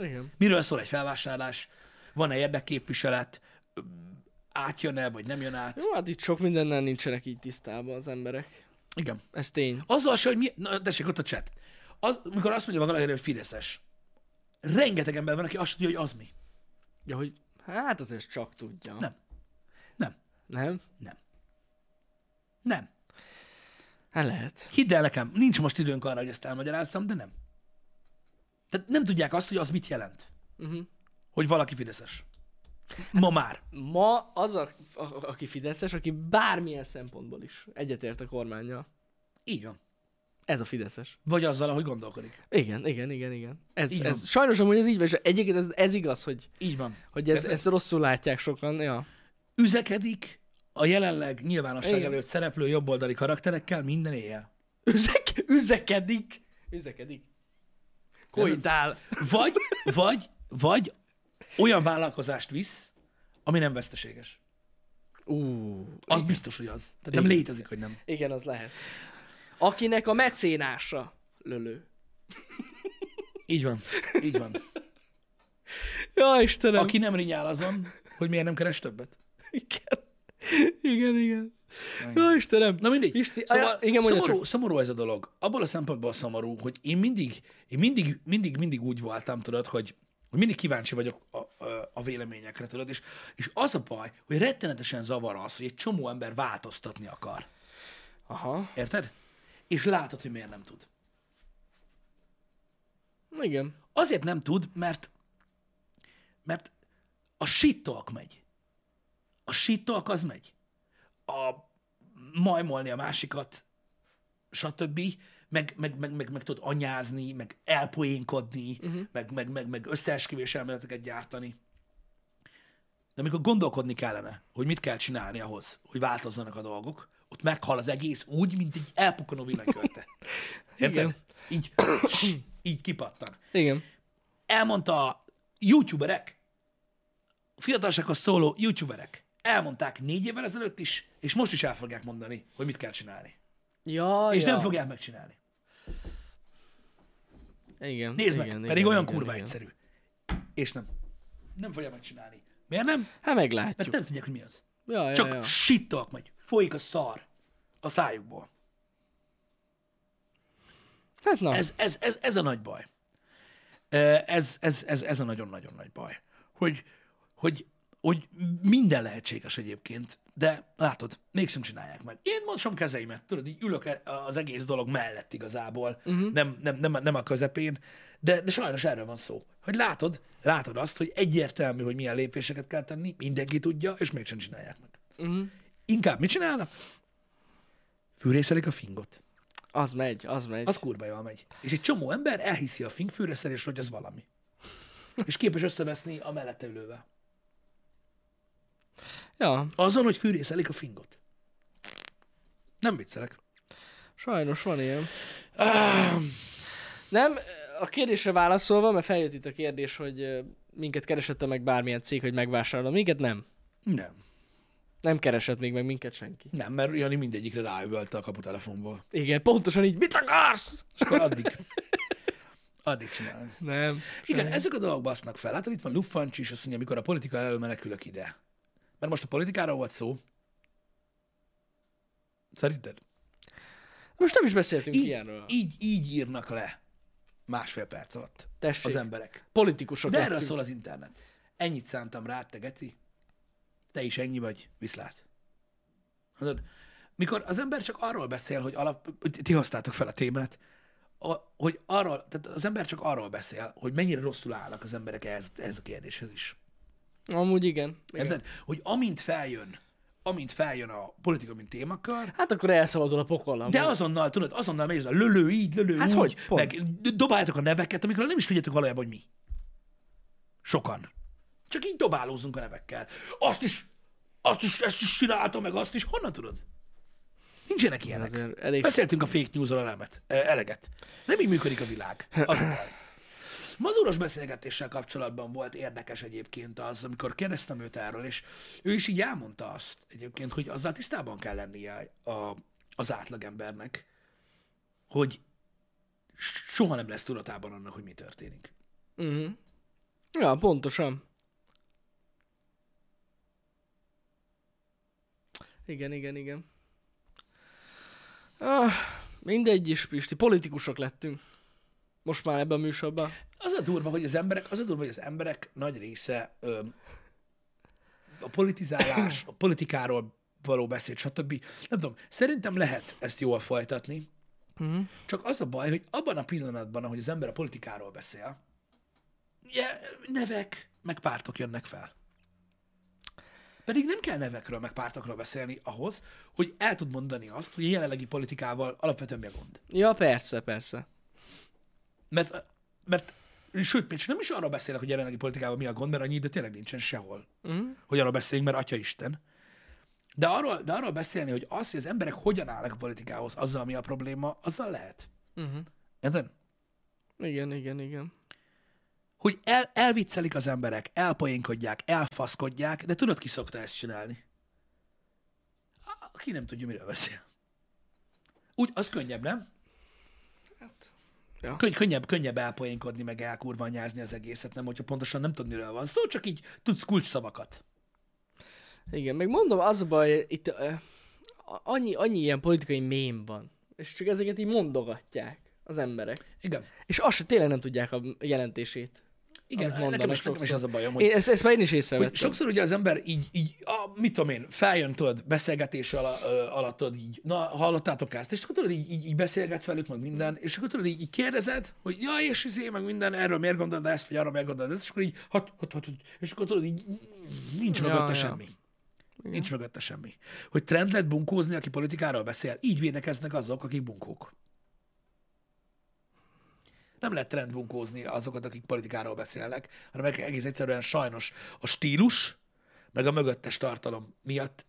Speaker 2: Igen.
Speaker 1: Miről szól egy felvásárlás? Van-e érdekképviselet? Öm, Átjön-e, vagy nem jön át?
Speaker 2: Jó, hát itt sok mindennel nincsenek így tisztában az emberek.
Speaker 1: Igen.
Speaker 2: Ez tény.
Speaker 1: Azzal se, hogy mi... Na, tessék, ott a chat. Az, mikor azt mondja valaki, hogy Fideszes, rengeteg ember van, aki azt tudja, hogy az mi.
Speaker 2: Ja, hogy hát azért csak tudja.
Speaker 1: Nem. Nem.
Speaker 2: Nem?
Speaker 1: Nem.
Speaker 2: Hát lehet.
Speaker 1: Hidd el nekem, nincs most időnk arra, hogy ezt elmagyarázzam, de nem. Tehát nem tudják azt, hogy az mit jelent.
Speaker 2: Uh-huh.
Speaker 1: hogy valaki fideszes. Ma már.
Speaker 2: Ma az, a, a, aki Fideszes, aki bármilyen szempontból is egyetért a kormányjal.
Speaker 1: Így van.
Speaker 2: Ez a Fideszes.
Speaker 1: Vagy azzal, ahogy gondolkodik.
Speaker 2: Igen, igen, igen, igen. Ez,
Speaker 1: Így van.
Speaker 2: ez, sajnos amúgy ez így van, és egyébként ez, ez igaz, hogy,
Speaker 1: Így van.
Speaker 2: hogy ez,
Speaker 1: Érted?
Speaker 2: ezt rosszul látják sokan. Ja.
Speaker 1: Üzekedik a jelenleg nyilvánosság
Speaker 2: Igen.
Speaker 1: előtt szereplő jobboldali karakterekkel minden éjjel.
Speaker 2: Üzek, üzekedik. Üzekedik. Kojtál.
Speaker 1: Vagy, vagy, vagy olyan vállalkozást visz, ami nem veszteséges.
Speaker 2: Ú,
Speaker 1: Az biztos, hogy az. Tehát nem
Speaker 2: Igen.
Speaker 1: létezik, hogy nem.
Speaker 2: igen, az lehet. Akinek a mecénása lölő.
Speaker 1: Így van. Így van.
Speaker 2: Ja, Istenem.
Speaker 1: Aki nem rinyál azon, hogy miért nem keres többet.
Speaker 2: Igen. Igen, igen. Ja, Istenem.
Speaker 1: Na mindegy.
Speaker 2: Isti,
Speaker 1: szóval,
Speaker 2: ja, igen, mondja
Speaker 1: szomorú,
Speaker 2: csak.
Speaker 1: szomorú ez a dolog. Abból a szempontból szomorú, hogy én mindig, én mindig, mindig, mindig úgy voltam, tudod, hogy hogy mindig kíváncsi vagyok a, a, a véleményekre, tudod, és, és az a baj, hogy rettenetesen zavar az, hogy egy csomó ember változtatni akar.
Speaker 2: Aha.
Speaker 1: Érted? És látod, hogy miért nem tud.
Speaker 2: Igen.
Speaker 1: Azért nem tud, mert mert a shit talk megy. A sítok az megy. A majmolni a másikat, stb. Meg, meg, meg, meg, meg tudod anyázni, meg elpoénkodni, uh-huh. meg, meg, meg, meg összeesküvés elméleteket gyártani. De amikor gondolkodni kellene, hogy mit kell csinálni ahhoz, hogy változzanak a dolgok, ott meghal az egész úgy, mint egy elpukkanó villanykörte. Érted?
Speaker 2: Igen.
Speaker 1: Így, (clears throat) így kipattan.
Speaker 2: Igen.
Speaker 1: Elmondta a youtuberek, a fiatalsághoz szóló youtuberek, elmondták négy évvel ezelőtt is, és most is el fogják mondani, hogy mit kell csinálni.
Speaker 2: Ja,
Speaker 1: És
Speaker 2: ja.
Speaker 1: nem fogják megcsinálni.
Speaker 2: Igen.
Speaker 1: Nézd
Speaker 2: igen,
Speaker 1: meg,
Speaker 2: igen,
Speaker 1: pedig olyan
Speaker 2: igen,
Speaker 1: kurva
Speaker 2: igen.
Speaker 1: egyszerű. És nem. Nem fogják megcsinálni. Miért nem?
Speaker 2: Hát
Speaker 1: Mert
Speaker 2: meglátjuk.
Speaker 1: nem tudják, hogy mi az.
Speaker 2: Ja,
Speaker 1: Csak
Speaker 2: ja, ja.
Speaker 1: sittak megy. Folyik a szar a szájukból.
Speaker 2: Hát na.
Speaker 1: Ez, ez, ez, ez a nagy baj. Ö, Ez, ez, ez, ez a nagyon-nagyon nagy baj. Hogy, hogy, hogy minden lehetséges egyébként, de látod, mégsem csinálják meg. Én mosom kezeimet, tudod, így ülök e- az egész dolog mellett igazából,
Speaker 2: Mhm.
Speaker 1: uh-huh. nem, nem, nem, nem a közepén, de, de sajnos erről van szó. Hogy látod, látod azt, hogy egyértelmű, hogy milyen lépéseket kell tenni, mindenki tudja, és mégsem csinálják meg.
Speaker 2: Mhm.
Speaker 1: Inkább mit csinálnak? Fűrészelik a fingot.
Speaker 2: Az megy, az megy.
Speaker 1: Az kurva jól megy. És egy csomó ember elhiszi a fingfűrőszerés, hogy az valami. És képes összeveszni a mellette ülővel.
Speaker 2: Ja,
Speaker 1: Azon, hogy fűrészelik a fingot. Nem viccelek.
Speaker 2: sajnos van ilyen. Nem, a kérdésre válaszolva, mert feljött itt a kérdés, hogy ö, minket keresette meg bármilyen cég, hogy megvásárolna. Minket nem.
Speaker 1: Nem.
Speaker 2: Nem keresett még meg minket senki.
Speaker 1: Nem, mert Jani mindegyikre ráüvölte a kaputelefonból.
Speaker 2: Igen, pontosan így. Mit akarsz?
Speaker 1: És akkor addig, addig csinálunk.
Speaker 2: Nem.
Speaker 1: Igen, ezek a dolgok basznak fel. Látod, itt van Lufancs is, azt mondja, amikor a politika elől menekülök ide. Mert most a politikáról volt szó. Szerinted?
Speaker 2: Most nem is beszéltünk így,
Speaker 1: Így,
Speaker 2: ilyenről.
Speaker 1: így, így írnak le másfél perc alatt
Speaker 2: Tessék,
Speaker 1: az
Speaker 2: az
Speaker 1: emberek.
Speaker 2: politikusok.
Speaker 1: De erről
Speaker 2: lettünk.
Speaker 1: szól az internet. Ennyit szántam rád, te geci. Te is ennyi vagy, viszlát. Tudod, mikor az ember csak arról beszél, hogy alap... Ti hoztátok fel a témát, a, hogy arról, tehát az ember csak arról beszél, hogy mennyire rosszul állnak az emberek ehhez, ehhez a kérdéshez is.
Speaker 2: Amúgy igen. igen.
Speaker 1: Érted? Hogy amint feljön, amint feljön a politika, mint témakör,
Speaker 2: Hát akkor elszabadul a pokolam.
Speaker 1: de azonnal, tudod, azonnal mész a lölő így, lölő
Speaker 2: Hát
Speaker 1: úgy,
Speaker 2: hogy? Pont.
Speaker 1: meg dobáljátok a neveket, amikről nem is tudjátok valójában, hogy mi. Sokan. Csak így dobálózunk a nevekkel. Azt is, azt is, ezt is csináltam, meg azt is. Honnan tudod? Nincsenek ilyenek.
Speaker 2: Azért elég
Speaker 1: Beszéltünk a fake news elemet, eh, eleget. Nem így működik a világ. Az a baj. Mazuros beszélgetéssel kapcsolatban volt érdekes egyébként az, amikor kérdeztem őt erről, és ő is így elmondta azt egyébként, hogy azzal tisztában kell lennie a, az átlagembernek, hogy soha nem lesz tudatában annak, hogy mi történik. Mhm.
Speaker 2: Uh-huh. Ja, pontosan. Igen, igen, igen. Ah, mindegy is, Pisti. Politikusok lettünk. Most már ebben a műsorban.
Speaker 1: Az a durva, hogy az emberek, az a durva, hogy az emberek nagy része ö, a politizálás, a politikáról való beszéd, stb. Nem tudom, szerintem lehet ezt jól folytatni, uh-huh. csak az a baj, hogy abban a pillanatban, ahogy az ember a politikáról beszél, ugye, nevek, meg pártok jönnek fel. Pedig nem kell nevekről, meg pártokról beszélni ahhoz, hogy el tud mondani azt, hogy a jelenlegi politikával alapvetően mi a gond.
Speaker 2: Ja, persze, persze.
Speaker 1: Mert, mert sőt, még csak nem is arra beszélek, hogy jelenlegi politikában mi a gond, mert annyi idő tényleg nincsen sehol, uh-huh. hogy arra beszéljünk, mert atya Isten. De arról, de arról beszélni, hogy az, hogy az emberek hogyan állnak a politikához, azzal mi a probléma, azzal lehet.
Speaker 2: Uh-huh.
Speaker 1: Érted?
Speaker 2: Igen, igen, igen.
Speaker 1: Hogy el, elviccelik az emberek, elpoénkodják, elfaszkodják, de tudod, ki szokta ezt csinálni? A- Aki nem tudja, miről beszél. Úgy, az könnyebb, nem? Könny- könnyebb, könnyebb elpoénkodni, meg elkurvanyázni az egészet, nem, hogyha pontosan nem tudni, miről van szó, csak így tudsz kulcsszavakat.
Speaker 2: Igen, meg mondom, az a baj, itt uh, annyi, annyi ilyen politikai mém van. És csak ezeket így mondogatják az emberek.
Speaker 1: Igen.
Speaker 2: És azt se tényleg nem tudják a jelentését.
Speaker 1: Igen,
Speaker 2: Amit
Speaker 1: nekem
Speaker 2: mondanak
Speaker 1: is, nekem is
Speaker 2: sokszor.
Speaker 1: az a bajom, hogy,
Speaker 2: Én, ezt, ezt már én is
Speaker 1: hogy
Speaker 2: észrevettem.
Speaker 1: sokszor ugye az ember így, így a, mit tudom én, feljön, tudod, beszélgetés ala, ö, alatt, tudod, így, na, hallottátok ezt, és akkor tudod, így, így, így beszélgetsz velük, meg minden, és akkor tudod, így, így kérdezed, hogy ja, és izé, meg minden, erről miért gondolod ezt, vagy arra miért gondolod ezt, és akkor így, hat, hat, hat, hat és akkor tudod, így nincs
Speaker 2: Ja,
Speaker 1: mögötte
Speaker 2: ja.
Speaker 1: semmi. Igen. Nincs mögötte semmi. Hogy trend lett bunkózni, aki politikáról beszél. Így vénekeznek azok, akik bunkók. Nem lehet trend bunkózni azokat, akik politikáról beszélnek, hanem egész egyszerűen sajnos a stílus, meg a mögöttes tartalom miatt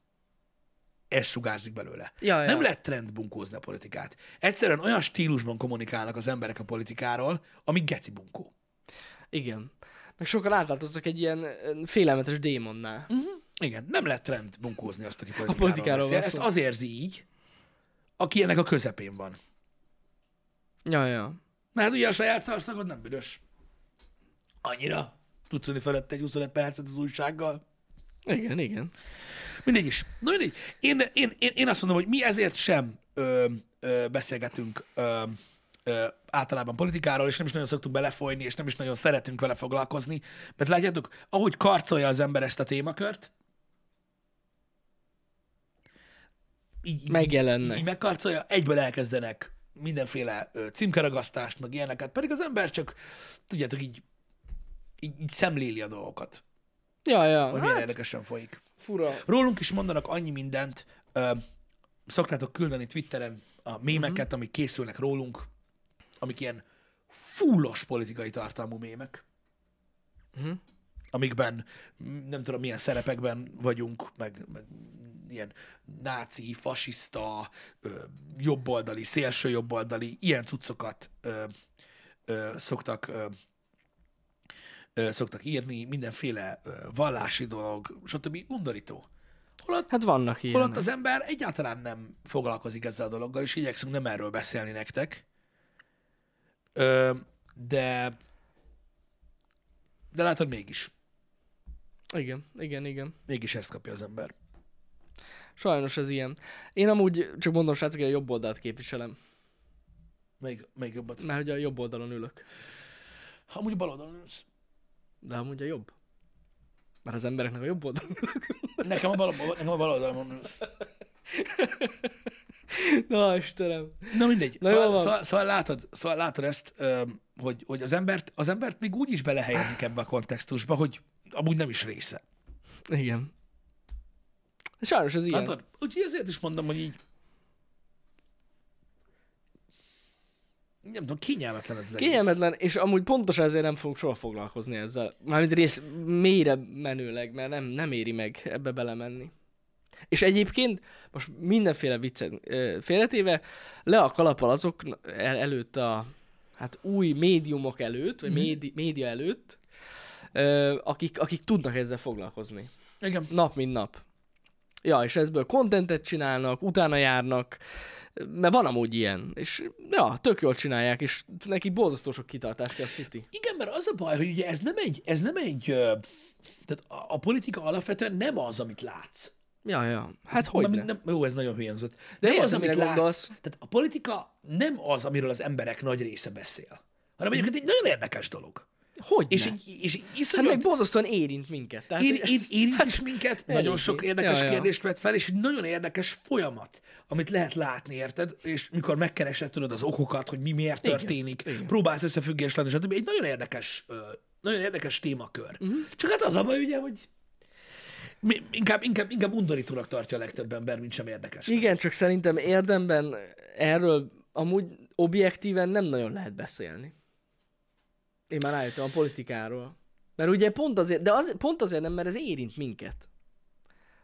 Speaker 1: ez sugárzik belőle.
Speaker 2: Ja, ja.
Speaker 1: Nem lehet trend bunkózni a politikát. Egyszerűen olyan stílusban kommunikálnak az emberek a politikáról, ami geci bunkó.
Speaker 2: Igen. Meg sokan átváltoztak egy ilyen ö, félelmetes démonnál.
Speaker 1: Igen, nem lehet trend bunkózni azt, aki politikáról,
Speaker 2: politikáról
Speaker 1: beszél.
Speaker 2: van
Speaker 1: Ezt
Speaker 2: szó.
Speaker 1: az érzi így, aki ennek a közepén van.
Speaker 2: Ja, ja.
Speaker 1: Mert hát ugye a saját szarszagod nem büdös. Annyira. Tudsz ülni felette egy 25 percet az újsággal.
Speaker 2: Igen, igen.
Speaker 1: Mindegy is. Na mindegy. Én, én, én, én azt mondom, hogy mi ezért sem ö, ö, beszélgetünk ö, ö, általában politikáról, és nem is nagyon szoktunk belefolyni, és nem is nagyon szeretünk vele foglalkozni. Mert látjátok, ahogy karcolja az ember ezt a témakört, így, így-
Speaker 2: Megjelennek.
Speaker 1: Így megkarcolja, egyből elkezdenek mindenféle ö, címkeragasztást, meg ilyeneket, pedig az ember csak, tudjátok, így, így, így szemléli a dolgokat,
Speaker 2: Ja, ja.
Speaker 1: hogy milyen
Speaker 2: Hát,
Speaker 1: érdekesen folyik.
Speaker 2: fura.
Speaker 1: Rólunk is mondanak annyi mindent. Ö, szoktátok küldeni Twitteren a mémeket, amik készülnek rólunk, amik ilyen fullos politikai tartalmú mémek,
Speaker 2: Mhm.
Speaker 1: amikben m, nem tudom milyen szerepekben vagyunk, meg, meg ilyen náci, fasiszta, ö, jobboldali, szélső jobboldali, ilyen cuccokat ö, ö, szoktak ö, ö, szoktak írni, mindenféle ö, vallási dolog, stb. undorító. Holott,
Speaker 2: Hát vannak ilyenek.
Speaker 1: holott az ember egyáltalán nem foglalkozik ezzel a dologgal, és igyekszünk nem erről beszélni nektek. Ö, de de látod, mégis.
Speaker 2: Igen, igen, igen.
Speaker 1: Mégis ezt kapja az ember.
Speaker 2: Sajnos ez ilyen. Én amúgy, csak mondom srácok, hogy a jobb oldalt képviselem.
Speaker 1: Még, még jobbat.
Speaker 2: Mert hogy a jobb oldalon ülök.
Speaker 1: Amúgy bal oldalon ülsz.
Speaker 2: De amúgy a jobb. Mert az embereknek a jobb oldalon ülök.
Speaker 1: Nekem a bal, nekem a bal oldalon ülsz.
Speaker 2: (laughs) Na, Istenem.
Speaker 1: Na mindegy.
Speaker 2: Na, jól
Speaker 1: szóval,
Speaker 2: van.
Speaker 1: szóval, szóval, látod, szóval látod ezt, öm, hogy, hogy az, embert, az embert még úgy is belehelyezik ebbe a kontextusba, hogy amúgy nem is része.
Speaker 2: Igen. Sajnos ez ilyen.
Speaker 1: Látod? Úgyhogy ezért is mondom, hogy így nem tudom, kényelmetlen ez az egész.
Speaker 2: Kényelmetlen, és amúgy pontosan ezért nem fogunk soha foglalkozni ezzel. Mármint rész mélyre menőleg, mert nem, nem éri meg ebbe belemenni. És egyébként most mindenféle viccet ö, félretéve le a kalappal azok el, előtt a hát új médiumok előtt,
Speaker 1: Mhm.
Speaker 2: vagy médi, média előtt, ö, akik, akik tudnak ezzel foglalkozni.
Speaker 1: Igen.
Speaker 2: Nap mint nap. Ja, és ezből kontentet csinálnak, utána járnak, mert van amúgy ilyen, és ja, tök jól csinálják, és neki borzasztó sok kitartás kell, azt tudni.
Speaker 1: Igen, mert az a baj, hogy ugye ez nem egy, ez nem egy, ö, tehát a, a politika alapvetően nem az, amit látsz.
Speaker 2: Ja, ja, hát hogy
Speaker 1: nem,
Speaker 2: ne.
Speaker 1: nem, jó, ez nagyon hülyemzött.
Speaker 2: De
Speaker 1: nem
Speaker 2: értem,
Speaker 1: az, amit
Speaker 2: mire
Speaker 1: látsz.
Speaker 2: gondolsz.
Speaker 1: Tehát a politika nem az, amiről az emberek nagy része beszél, hanem egyébként egy nagyon érdekes dolog.
Speaker 2: Hogy
Speaker 1: És,
Speaker 2: ne.
Speaker 1: egy, és egy
Speaker 2: Hát
Speaker 1: iszonyat
Speaker 2: meg borzasztóan érint minket. Tehát
Speaker 1: Ér,
Speaker 2: ezt-
Speaker 1: ér, érint is minket, nagyon sok érdekes
Speaker 2: Ja, ja.
Speaker 1: kérdést vett fel, és egy nagyon érdekes folyamat, amit lehet látni, érted? És mikor megkeresed tudod az okokat, hogy mi miért történik, Igen. próbálsz összefüggés lenni, stb. Egy nagyon érdekes, ö, nagyon érdekes témakör.
Speaker 2: Mhm.
Speaker 1: Uh-huh. Csak hát az a baj, ugye, hogy mi- inkább, inkább, inkább undorítónak tartja a legtöbb ember, mint sem érdekes.
Speaker 2: Igen, csak szerintem érdemben erről amúgy objektíven nem nagyon lehet beszélni. Én már rájöttem a politikáról. Mert ugye pont azért, de az, pont azért nem, mert ez érint minket.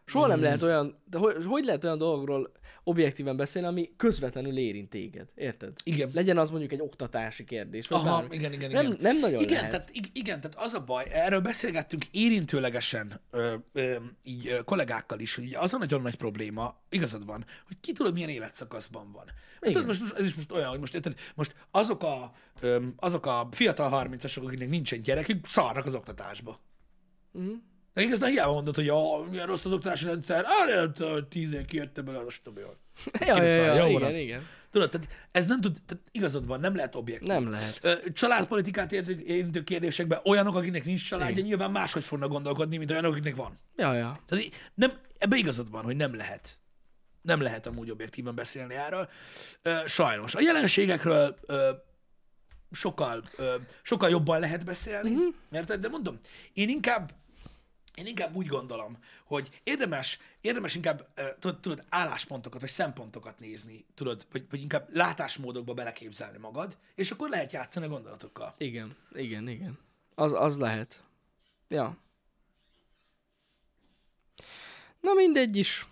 Speaker 2: Soha
Speaker 1: Mm.
Speaker 2: nem lehet olyan, de hogy, hogy lehet olyan dologról objektíven beszélni, ami közvetlenül érint téged, érted?
Speaker 1: Igen.
Speaker 2: Legyen az mondjuk egy oktatási kérdés, vagy
Speaker 1: Aha,
Speaker 2: bármi.
Speaker 1: igen, igen,
Speaker 2: nem,
Speaker 1: igen.
Speaker 2: nem nagyon
Speaker 1: Igen,
Speaker 2: lehet.
Speaker 1: tehát, ig- igen, tehát az a baj, erről beszélgettünk érintőlegesen ö, ö, így ö, kollégákkal is, hogy ugye az a nagyon nagy probléma, igazad van, hogy ki tudod, milyen életszakaszban van. Hát, tudod, most, most ez is most olyan, hogy most, érted, most azok, a, ö, azok a fiatal 30-asok, akiknek nincsen gyerekük, szarnak az oktatásba.
Speaker 2: Mhm.
Speaker 1: De igazán hiába mondod, hogy ja, milyen rossz az oktatási rendszer, á, nem tudom, tíz év kijöttem belőle, azt tudom, jól.
Speaker 2: Ja, ja, ja,
Speaker 1: szóval Jó van
Speaker 2: igen,
Speaker 1: az.
Speaker 2: igen.
Speaker 1: Tudod, tehát ez nem tud, tehát igazad van, nem lehet objektív.
Speaker 2: Nem lehet.
Speaker 1: Ö, Családpolitikát értő- érintő kérdésekben olyanok, akiknek nincs családja,
Speaker 2: Igen.
Speaker 1: nyilván máshogy fognak gondolkodni, mint olyanok, akiknek van.
Speaker 2: Ja, ja.
Speaker 1: Tehát í- nem, ebbe igazad van, hogy nem lehet. Nem lehet amúgy objektíven beszélni erről. Ö, Sajnos. A jelenségekről ö,
Speaker 2: Mhm.
Speaker 1: sokkal, ö, sokkal jobban lehet beszélni, mert de mondom, én inkább Én inkább úgy gondolom, hogy érdemes, érdemes inkább eh, tudod, tudod, álláspontokat vagy szempontokat nézni, tudod, vagy, vagy inkább látásmódokba beleképzelni magad, és akkor lehet játszani a gondolatokkal.
Speaker 2: Igen, igen, igen. Az, az lehet. Ja. Na mindegy is.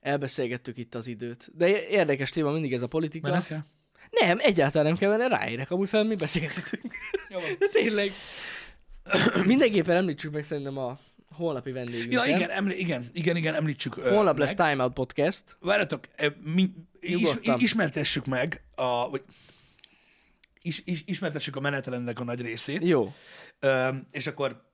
Speaker 2: Elbeszélgettük itt az időt. De é- érdekes téma mindig ez a politika.
Speaker 1: Menned kell?
Speaker 2: Nem, egyáltalán nem kell menni, ráérek, amúgy fel mi
Speaker 1: (laughs)
Speaker 2: beszélgetünk.
Speaker 1: Jó van.
Speaker 2: De tényleg. (clears throat) Mindenképpen említsük meg szerintem a holnapi vendégünket.
Speaker 1: Ja, igen, eml- igen, igen, igen, említsük. ö,
Speaker 2: Holnap lesz
Speaker 1: meg.
Speaker 2: Time Out Podcast.
Speaker 1: Várjatok, eh, mi, is,
Speaker 2: Nyugodtan.
Speaker 1: ismertessük meg a, vagy, is, is, ismertessük a menetelennek a nagy részét,
Speaker 2: Jó.
Speaker 1: Ö, és akkor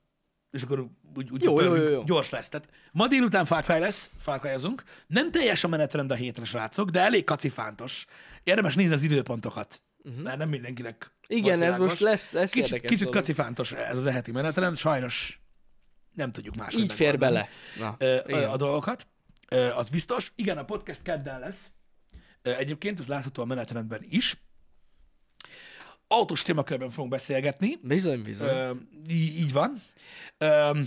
Speaker 1: és akkor úgy, úgy
Speaker 2: Jó, jó,
Speaker 1: pörög,
Speaker 2: jó, jó.
Speaker 1: gyors lesz. Tehát ma délután Far Cry lesz, Far Cryozunk. Nem teljes a menetrend a hétre, srácok, de elég kacifántos. Érdemes nézni az időpontokat, uh-huh. mert nem mindenkinek
Speaker 2: Mhm. Igen,
Speaker 1: volt
Speaker 2: ez most
Speaker 1: világos.
Speaker 2: lesz, lesz
Speaker 1: Kicsit,
Speaker 2: érdekes
Speaker 1: kicsit
Speaker 2: dolog.
Speaker 1: kacifántos ez az eheti menetrend, sajnos nem tudjuk máshogy
Speaker 2: Így fér
Speaker 1: megoldani
Speaker 2: bele. Na,
Speaker 1: ö, ö,
Speaker 2: igen.
Speaker 1: a dolgokat. Ö, Az biztos. Igen, a podcast kedden lesz. Ö, Egyébként ez látható a menetrendben is. Autós témakörben fogunk beszélgetni.
Speaker 2: Bizony, bizony.
Speaker 1: Ö, í- Így van. Ö,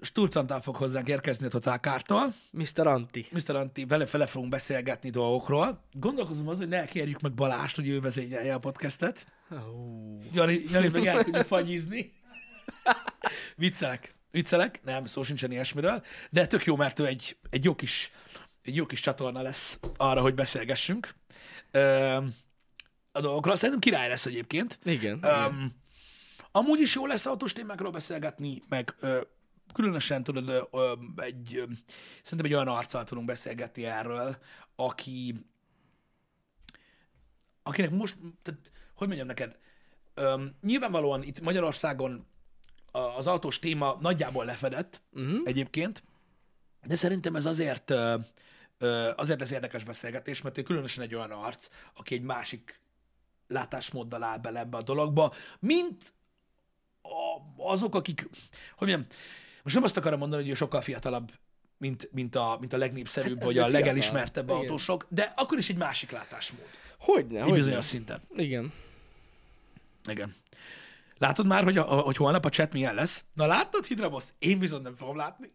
Speaker 1: Sturcantál fog hozzánk érkezni a Total Kártól.
Speaker 2: Mr. Anti.
Speaker 1: Mr. Antti, vele fele fogunk beszélgetni dolgokról. Gondolkozom az, hogy ne kérjük meg Balást, hogy ő vezényelje a podcastet.
Speaker 2: Ó.
Speaker 1: Jani, Jani meg elküldje fagyizni. Viccelek. Viccelek, nem, szó sincsen ilyesmiről, de tök jó, mert ő egy, egy, jó kis, egy jó kis csatorna lesz arra, hogy beszélgessünk ö, a dolgokról. Szerintem király lesz egyébként.
Speaker 2: Igen. igen.
Speaker 1: Öm, amúgy is jó lesz autós témákról beszélgetni, meg ö, különösen tudod, ö, ö, egy, ö, szerintem egy olyan arccal tudunk beszélgetni erről, aki, akinek most, tehát, hogy mondjam neked, öm, nyilvánvalóan itt Magyarországon a- az autós téma nagyjából lefedett uh-huh. egyébként, de szerintem ez azért ö, ö, azért ez érdekes beszélgetés, mert ő különösen egy olyan arc, aki egy másik látásmóddal áll bele ebbe a dologba, mint a, azok, akik, hogy mondjam, most nem azt akarom mondani, hogy ő sokkal fiatalabb, mint, mint, a, mint a legnépszerűbb, vagy a
Speaker 2: Hát fiatal.
Speaker 1: legelismertebb
Speaker 2: Igen.
Speaker 1: autósok, de akkor is egy másik látásmód.
Speaker 2: Hogyne,
Speaker 1: Egy
Speaker 2: hogyne.
Speaker 1: bizonyos szinten.
Speaker 2: Igen.
Speaker 1: Igen. Látod már, hogy, a, a- hogy holnap a chat milyen lesz? Na láttad, Hidra boss? Én viszont nem fogom
Speaker 2: (laughs)
Speaker 1: látni.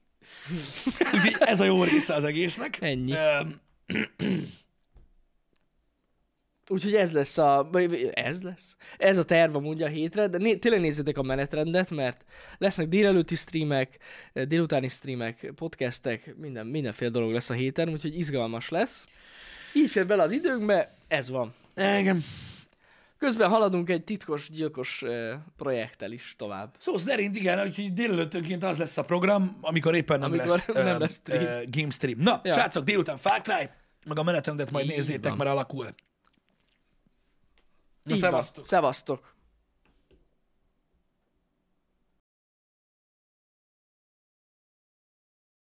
Speaker 1: Úgyhogy ez a jó része az egésznek.
Speaker 2: Ennyi.
Speaker 1: Öm, Úgyhogy
Speaker 2: Úgyhogy ez lesz a... vagy- vagy- Ez lesz? Ez a terv amúgy a hétre, de né- tényleg nézzétek a menetrendet, mert lesznek délelőtti streamek, eh, délutáni streamek, podcastek, minden, mindenféle dolog lesz a héten, úgyhogy izgalmas lesz. Így fér bele az időnkbe, ez van.
Speaker 1: Igen.
Speaker 2: Közben haladunk egy titkos, gyilkos eh, projekttel is tovább.
Speaker 1: Szó szerint igen, úgyhogy délelőttönként az lesz a program, amikor éppen nem
Speaker 2: Amikor
Speaker 1: lesz,
Speaker 2: nem
Speaker 1: öm,
Speaker 2: lesz stream.
Speaker 1: ö, game stream. Na,
Speaker 2: Ja.
Speaker 1: srácok, délután Far Cry, meg a menetrendet majd
Speaker 2: Így
Speaker 1: nézzétek,
Speaker 2: van.
Speaker 1: mert alakul. Na,
Speaker 2: Így van.
Speaker 1: szevasztok.
Speaker 2: Szevasztok.